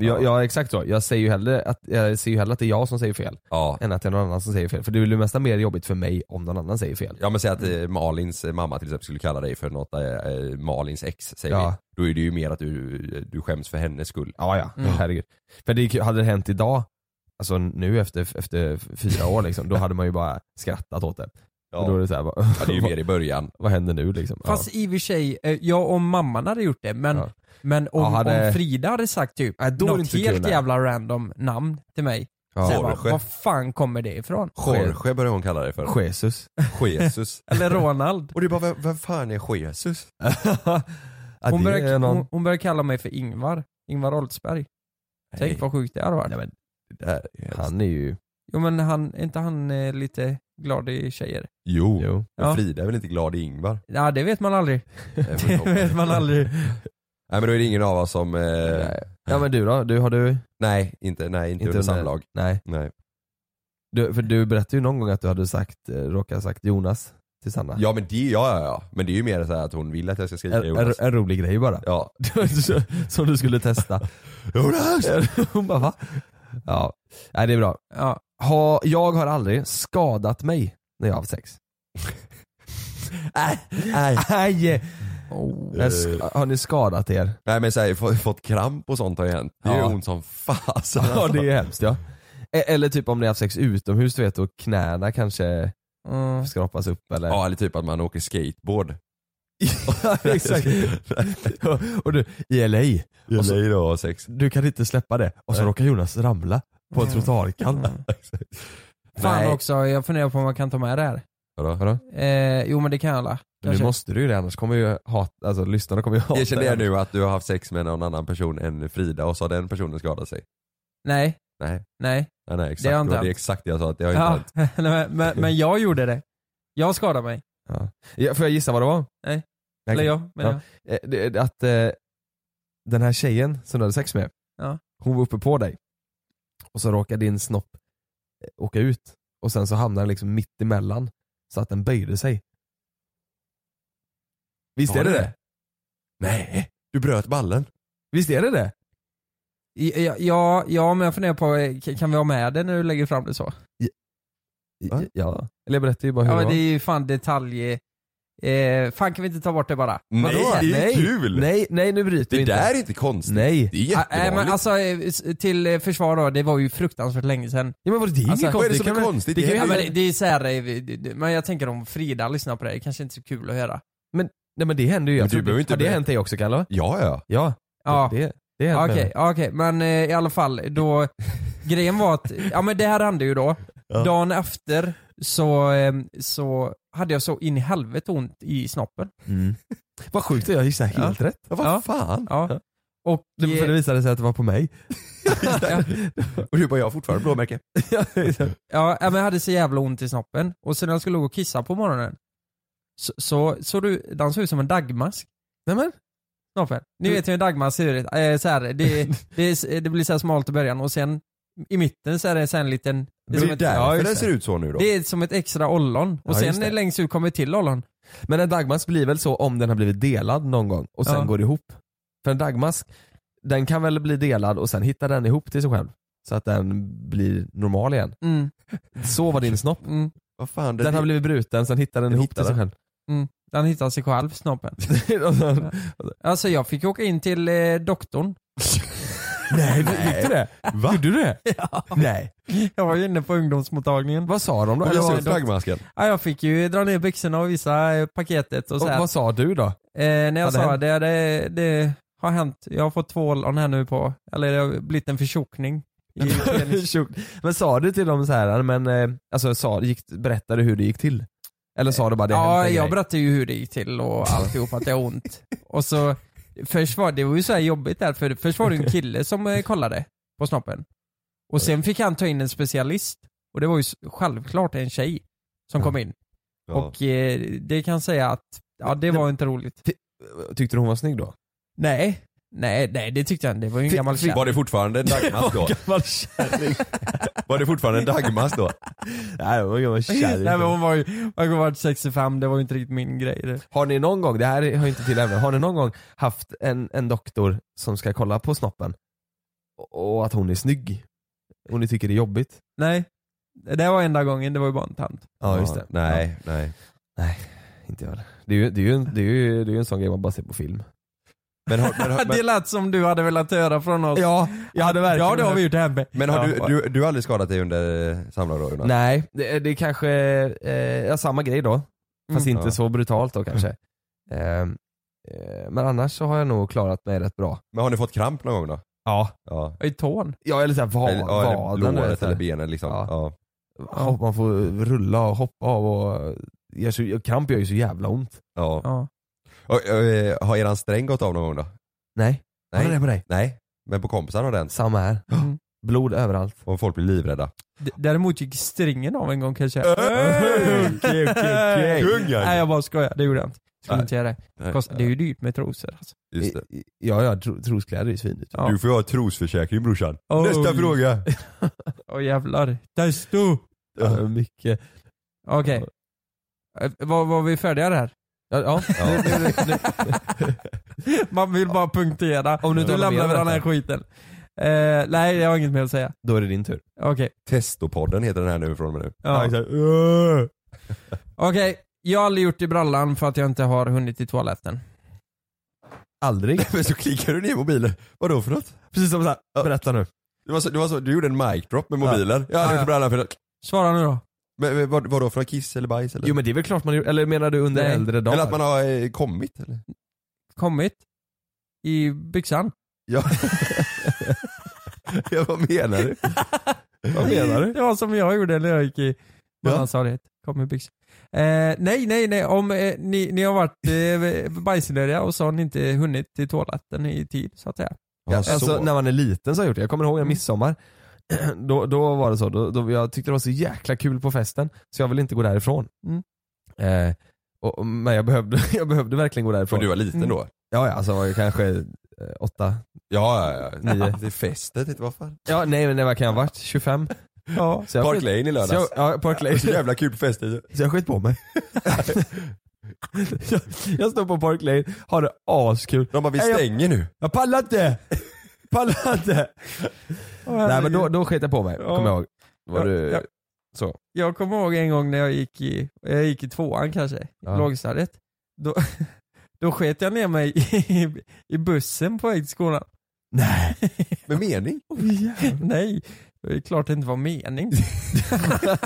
Jag, jag, exakt så, jag ser ju hellre att, jag ser ju hellre att det är jag som säger fel än att det är någon annan som säger fel. För det blir nästan mer jobbigt för mig om någon annan säger fel. Ja men säg att eh, Malins eh, mamma till exempel skulle kalla dig för något, eh, eh, Malins ex säger Ja. vi. Då är det ju mer att du, du skäms för hennes skull. Ja, ja. Mm. Herregud. För det, är kul- hade det hänt idag, alltså nu efter, efter fyra år liksom, då hade man ju bara skrattat åt det. Och då är det, så här, bara, Ja, det är ju mer i början. Vad händer nu liksom? Fast i och för sig, eh, ja om mamman hade gjort det, men, men om, Ja, hade- om Frida hade sagt typ är det något inte helt kul, nej. jävla random namn till mig. Ja. Så jag bara, Jorge. vad fan kommer det ifrån? Jorge börjar hon kalla dig för. ja. Jesus. Jesus. Eller Ronald. Och du bara, vem, vem fan är Jesus? Ja, Hon det är börjar, någon- hon, hon börjar kalla mig för Ingvar. Ingvar Oldsberg. Tänk vad sjukt det hade varit. Han är ju... Jo men han, är inte han eh, lite glad i tjejer? Jo, Jo. men Ja. Frida är väl inte glad i Ingvar? Ja det vet man aldrig. det vet man aldrig. Nej men då är det ingen av oss som... Eh... Nej. Nej. Ja men du då? Du, har du, inte, nej, inte, Inte under under- samlag. nej. Nej. du, för du berättade ju någon gång att du hade sagt, eh, råkat sagt Jonas till Sanna. Ja men det, ja, ja ja. Men det är ju mer så här att hon vill att jag ska skrika En, en, Jonas. en rolig grej bara. Ja. Som du skulle testa. Jonas! Hon bara va? Ja, nej det är bra. Ja. Ha, jag har aldrig skadat mig när jag har haft sex. Nej. Aj. Oh. Jag sk- Har ni skadat er? Nej men så här, få- fått kramp och sånt har ju hänt. Det är ju Ja. ont som fasen Ja det är hemskt ja. E- Eller typ om ni har haft sex utomhus du vet och knäna kanske Mm. skrapas upp eller? Ja eller typ att man åker skateboard. exakt. Ja, och du, i LA, Jag Och så- säger då sex. du kan inte släppa det. Och så råkar Jonas ramla på en trottoarkant. Mm. Fan Nej. också, jag funderar på om man kan ta med det här. Vadå? Vadå? Eh, jo men det kan jag alla. Men Nu måste du ju det annars kommer ju hata, alltså lyssnarna kommer ju hata Erkänn det dig. nu att du har haft sex med någon annan person än Frida och så har den personen skadat sig. Nej, Nej. Nej. Nej, nej exakt. Det Det, har jag inte var det är haft. exakt det jag sa att jag har inte Ja, haft. nej, men, men, men jag gjorde det. Jag skadade mig. Ja. Ja, Får jag gissa vad det var? Nej. Nej, Eller okej. jag, menar Ja. Eh, det- det- Att eh, den här tjejen som du hade sex med, Ja. hon var uppe på dig. Och så råkade din snopp eh, åka ut. Och sen så hamnade den liksom mitt emellan. Så att den böjde sig. Visst Var är det det det? det? Nej, du bröt ballen. Visst är det det? Ja, ja, ja, men jag funderar på, eh, k- kan vi ha med det när du lägger fram det så? Ja. Eller jag berättar ju bara hur det Ja men var. det är ju fan detalj... Eh, fan kan vi inte ta bort det bara? Nej, det är nej, kul. Nej, nej nu bryter vi inte. Det där är inte konstigt. Nej. Det är Ah, jättevanligt. Nej men alltså eh, s- till eh, försvar då, det var ju fruktansvärt länge sedan. Ja men vadå alltså, det är inget Vad är konstigt. det som kan är man- konstigt? Det kan ja, ju- men det, det är så här, eh, vi- det- det- men jag tänker om Frida lyssnar på det, det kanske inte är så kul att höra. Men, nej men det händer ju. Jag Men du tror- behöver inte har det berätta. hänt dig också Kalle? Ja, ja. Ja. Ja. Det, det är Okej, okej, men eh, i alla fall då, grejen var att, ja men det här hände ju då. Dagen efter så, eh, så hade jag så in i helvete ont i snoppen. Mm. Vad sjukt, jag gissade helt rätt. Ja, vad fan. Ja. Och, eh, Det, för det visade sig att det var på mig. Och du bara, jag har fortfarande blåmärke. Ja, ja, men jag hade så jävla ont i snoppen. Och sen när jag skulle gå och kissa på morgonen så, så, så du, den såg ut som en dagmask. Nämen? Snoppen. Ni vet ju hur en dagmask ser ut. Eh, så här, det, det, det blir så här smalt i början och sen i mitten så är det så här en liten... Det är som ett- därför Ja, just den det. ser ut så nu då. Det är som ett extra ollon. Och Ja, just det. sen längst ut kommer till ollon. Men en dagmask blir väl så om den har blivit delad någon gång och sen Ja. går ihop. För en dagmask, den kan väl bli delad och sen hittar den ihop till sig själv. Så att den blir normal igen. Mm. Så var din snopp. Mm. Vad fan, Den har blivit bruten, sen hittar den ihop till sig själv. Mm. Den hittar sig själv, snoppen. alltså jag fick åka in till eh, doktorn. Nej, fick du det? Va? Gjorde du det? Ja. Nej. Jag var ju inne på ungdomsmottagningen. Vad sa de då? Eller vad- dagmasken? Ja, jag fick ju dra ner byxorna och visa eh, paketet och Och så här. vad sa du då? Eh, när jag Hade sa hänt? det, det, det har hänt, jag har fått två ollon här nu på, eller det har blivit en förtjockning. i penis. Tjock. men sa du till dem så här, men eh, alltså sa, gick, berättade du hur det gick till? Eller sa du bara det ja, hände en jag grej? berättade ju hur det gick till och alltihop, att jag har ont. Och så, först var det var ju så här jobbigt där, för först var det ju en kille som eh, kollade på snoppen. Och sen fick han ta in en specialist, och det var ju s- självklart en tjej som kom in. Ja. Och eh, det kan jag säga att, ja det var inte roligt. Tyckte du hon var snygg då? Nej, nej, nej det tyckte jag inte. Det var ju en gammal kärring. Var det fortfarande en dagmask då? Var det fortfarande en dagmask då? Nej, hon var Nej men hon var ju, hon var 65, det var ju inte riktigt min grej. Det. Har ni någon gång, det här hör ju inte till ämnet, har ni någon gång haft en, en doktor som ska kolla på snoppen och och att hon är snygg? Och ni tycker det är jobbigt? Nej, det var enda gången, det var ju bara en tant. Ja, just det. Nej, nej. Nej, inte jag. Det är ju, det är ju, en, det är ju, det är ju en sån grej man bara ser på film. Men har, men, har- det men, lät som du hade velat höra från oss. Ja, jag hade verkligen Ja det har vi gjort hemma. men har Ja. du, du, du har aldrig skadat dig under eh, samlag då Jonas? Nej, det, är- det är kanske eh, ja, samma grej då. Fast Mm. inte Ja. så brutalt då kanske. Ehm, eh, men annars så har jag nog klarat mig rätt bra. Men har ni fått kramp någon gång då? Ja. Ja. I tån? Ja eller såhär vad, eller, ja, vaden. eller du vet, låret så eller här. benen liksom. Ja. Ja. Ja, Man får rulla och hoppa av och gör så, kramp gör ju så jävla ont. Ja. Ja. Och, och, eh, har eran sträng gått av någon gång då? Nej. Nej. Har du det på dig? Nej. Men på kompisar har den. Samma här. Mm. Blod överallt. Och folk blir livrädda. D- Däremot gick stringen av en gång kanske. Okej, okej, okej. Kungen. Nej jag bara skojar, det gjorde jag inte. Skulle Nej. inte göra det. Nej. Kost, det är ju dyrt med trosor alltså. Just det. Ja, ja tro, troskläder är ju svindyrt. Ja. Du får ju ha trosförsäkring brorsan. Oj. Nästa fråga. Åh jävlar. Desto! Ja, mycket. Okej. Eh, Var, var vi färdiga där? Ja, ja. Ja. Nu- nu- nu- Man vill bara punktera. Om du inte nu har något lämnar mer vi den här att skiten. Eh, nej, jag har inget mer att säga. Då är det din tur. Okej. Testopodden heter den här nu från och med nu. Ja. exakt. Okej, jag har aldrig gjort i brallan för att jag inte har hunnit till toaletten. Aldrig. Men så klickar du ner mobilen. Vadå för något? Precis som såhär, berätta nu. Det var så, det var så, du gjorde en mic drop med mobilen. Jag hade Ja, ja. inte brallan för något. Svara nu då. Men, men vad, vadå för något? Kiss eller bajs eller? Jo men det är väl klart man gjorde, eller menar du under Nej. äldre dagar? eller att man har eh, kommit eller? Kommit? I byxan? Ja. ja vad menar du? vad menar du? Det var som jag gjorde när jag gick i mellanstadiet. Kom i byxan. Eh, nej, nej, nej. Om eh, ni, ni har varit eh, bajsnödiga och så har ni inte hunnit till toaletten i tid så att säga. Ja, alltså så. Mm. när man är liten så har jag gjort det. Jag kommer ihåg en midsommar. då, då var det så, då, då, jag tyckte det var så jäkla kul på festen så jag ville inte gå därifrån. Mm. Eh, och, och- men jag behövde, jag behövde verkligen gå därifrån. Men du var liten Mm. då? Ja, ja alltså jag var ju kanske eh, åtta, Ja, ja, ja. nio. Det är festet, inte vad fan. Ja, nej men vad kan jag ha varit? 25? Ja, så jag Park skit- Lane i lördags. Alltså, Så jag, ja, Park Lane. Så jävla kul på festen. Så jag skit på mig. jag, jag står på Park Lane, har det askul. De bara, vi Nej, jag- stänger nu. Jag pallar inte! Pallar inte! Nej men då, då skit jag på mig, Ja. kommer jag ihåg. Var Ja, du, ja. så. Jag kommer ihåg en gång när jag gick i, jag gick i tvåan kanske, Ja. lågstadiet. Då, då sket jag ner mig i, i bussen på väg till skolan. Nej. Med mening? Nej, det är klart det inte var mening.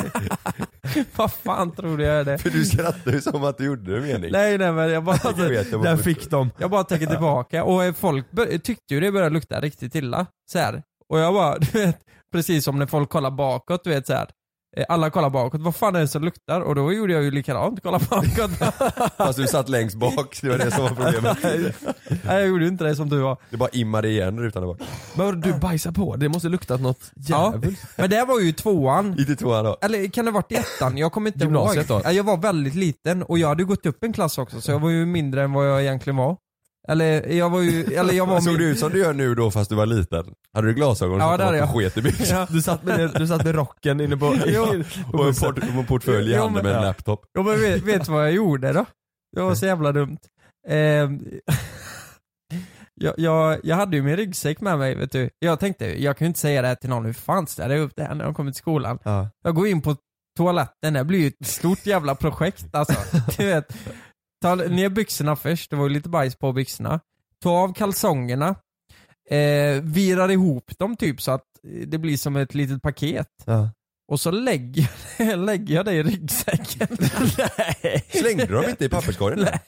Vad fan trodde jag det? För du skrattar ju som att du gjorde det mening. Nej nej men jag bara... Jag vet, alltså, jag bara- Där fick de. Jag bara tänker tillbaka och eh, folk bör- tyckte ju det började lukta riktigt illa. Så här. Och jag bara, du vet, precis som när folk kollar bakåt, du vet så här. Eh, Alla kollar bakåt, vad fan är det som luktar? Och då gjorde jag ju likadant, kolla bakåt. Fast du satt längst bak, det var det som var problemet. Nej jag gjorde inte det som du var. Det bara immade igen rutan där bak. Men du bajsar på, det måste luktat något jävligt. Men det här var ju i tvåan. Inte tvåan då. Eller kan det ha varit i ettan? Jag kommer inte Gymnasiet ihåg. då? Ja, Jag var väldigt liten och jag hade gått upp en klass också så jag var ju mindre än vad jag egentligen var. Eller jag var ju, eller jag var Såg min- du ut som du gör nu då fast du var liten? Hade du glasögon Ja, och det hade på jag. sket i byxan? Ja. Du, satt med, du satt med rocken inne på... Jo. på Och en, bussen. port, och en portfölj i Jo, handen men- med en ja. laptop. Ja, men vet, vet du vad jag gjorde då? Det var så jävla dumt. Ehm, jag, jag, jag hade ju min ryggsäck med mig vet du. Jag tänkte, jag kan ju inte säga det här till någon, hur fan ställer jag upp det här när de kommer till skolan? Ja. Jag går in på toaletten, det blir ju ett stort jävla projekt alltså. Du vet, ta ner byxorna först, det var ju lite bajs på byxorna. Ta av kalsongerna, eh, virar ihop dem typ så att det blir som ett litet paket. Och så lägger, jag- lägger jag det i ryggsäcken. Slängde du dem inte i papperskorgen? där?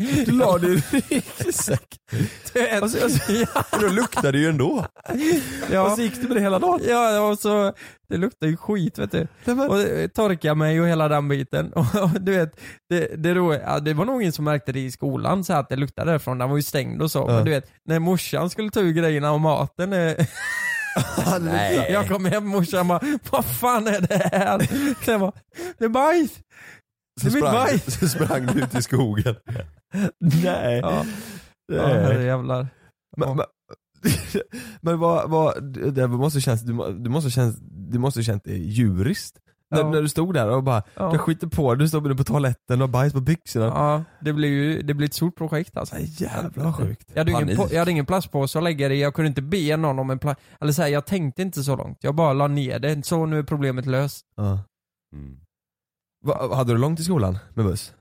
Du la det i ryggsäcken. Du vet, ja, Men då luktade det ju ändå. ja. Och så gick du med det hela dagen? Ja, och så, det luktar ju skit vet du. Och eh, torka mig och hela den biten. Och, och du vet, det, det, roliga- ja, det var nog ingen som märkte det i skolan så här att det luktade därifrån, den var ju stängd och så. Ja. Men du vet, när morsan skulle ta ur grejerna och maten eh, Nej. Jag kom hem morsan bara, vad fan är det här? Sen bara, det är bajs! Det Så är mitt sprang, bajs! så sprang du ut i skogen. Nej. Ja, ja herrejävlar. Men, men, men vad, vad, det måste känns, du må- du måste känns, du måste känt dig djuriskt. När, Ja. när du stod där och bara, Ja. jag skiter på du står inne på toaletten och har bajs på byxorna. Ja, det blir ju det blir ett stort projekt alltså. Jävlar vad sjukt. Jag hade, ingen, Panik. po- jag hade ingen plastpåse att lägga det i, jag kunde inte be någon om en plats. Eller så här, jag tänkte inte så långt. Jag bara la ner det, så nu är problemet löst. Ja. Mm. Va, hade du långt till skolan med buss?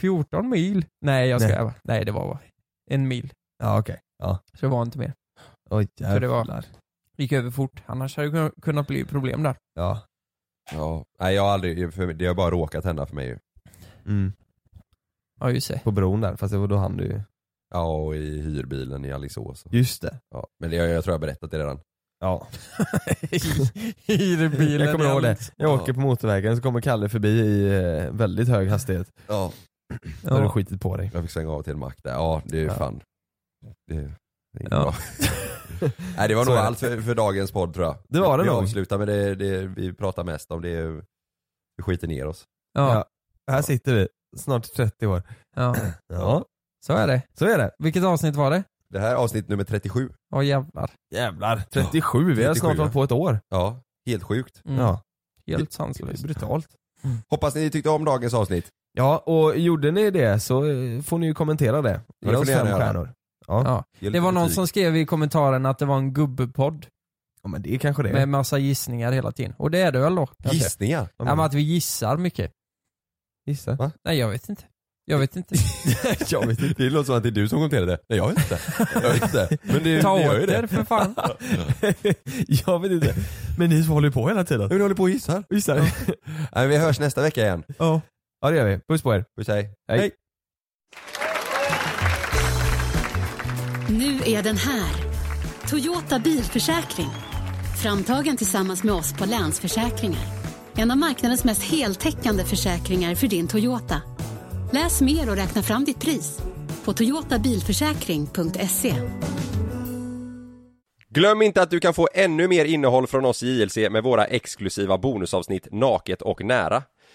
14 mil? Nej jag skojar Nej. bara. Nej det var bara en mil. Ja okej. Ja. Så det var inte mer. Oj Så det var- jävlar. Gick över fort, annars hade det kun- kunnat bli problem där. Ja. Ja. Nej jag har aldrig, för mig- det har bara råkat hända för mig ju. Mm. Ja just det. På bron där, fast det var då hann du ju. Ja och i hyrbilen i Alingsås. Just det. Ja. Men det, jag, jag tror jag har berättat det redan. Ja. Hyrbilen. Jag kommer i ihåg det. Alingsås. Jag åker på motorvägen så kommer Kalle förbi i eh, väldigt hög hastighet. Ja. Då har du Ja. skitit på dig. Jag fick svänga av till en mack där. Ja det är Ja. fan. Det, det är inte Ja. bra. Nej det var Så nog är det. allt för, för dagens podd tror jag. Det var det vi nog. avslutar med det, det vi pratar mest om. Det är, vi skiter ner oss. Ja, Här sitter vi, snart 30 år. ja. Ja, Så är det. så är det. Vilket avsnitt var det? Det här är avsnitt nummer 37. Ja jävlar. Jävlar. 37, vi har 37, snart ja. hållit på ett år. Ja, helt sjukt. Mm. Ja, Helt det är sanslöst. brutalt. Hoppas ni tyckte om dagens avsnitt. Ja, och gjorde ni det så eh, får ni ju kommentera det. det Ge får oss ni gärna fem göra. stjärnor. Ja. Ja. Ge lite Det var någon kritik. som skrev i kommentaren att det var en gubbepodd ja, men det är kanske det är. med massa gissningar hela tiden. Och det är det väl då? kanske? Gissningar? Ja, Ja, men- men att vi gissar mycket. Gissa. Va? Nej jag vet inte. Jag vet inte. jag vet inte. Det låter som att det är du som kommenterar det. Nej jag vet inte. Jag vet inte. Men det, Ta ni åt gör ju er det. för fan. jag vet inte. Men ni håller ju på hela tiden. Men ni håller på och gissar. Gissar. Nej, men vi hörs nästa vecka igen. Ja. ja, det gör vi. Puss på er. Puss hej. Hej. Nu är den här. Toyota bilförsäkring. Framtagen tillsammans med oss på Länsförsäkringar. En av marknadens mest heltäckande försäkringar för din Toyota. Läs mer och räkna fram ditt pris på toyotabilförsäkring.se. Glöm inte att du kan få ännu mer innehåll från oss i JLC med våra exklusiva bonusavsnitt Naket och nära.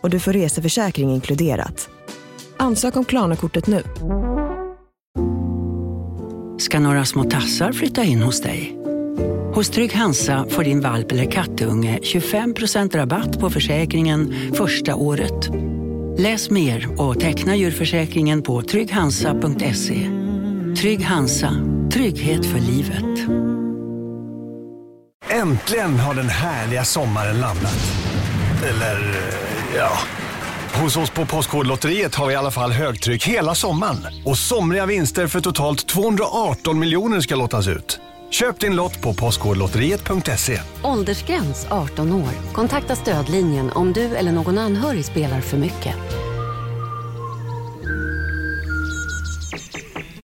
och du får reseförsäkring inkluderat. Ansök om Klarna-kortet nu. ska några små tassar flytta in hos dig. Hos Trygg Hansa får din valp eller kattunge 25% rabatt på försäkringen första året. Läs mer och teckna djurförsäkringen på trygghansa.se. Trygg Hansa, trygghet för livet. Äntligen har den härliga sommaren landat. Eller, eh, ja. Hos oss på Postkodlotteriet har vi i alla fall högtryck hela sommaren. Och somriga vinster för totalt 218 miljoner ska lottas ut. Köp din lott på postkodlotteriet.se. Åldersgräns 18 år. Kontakta stödlinjen om du eller någon anhörig spelar för mycket.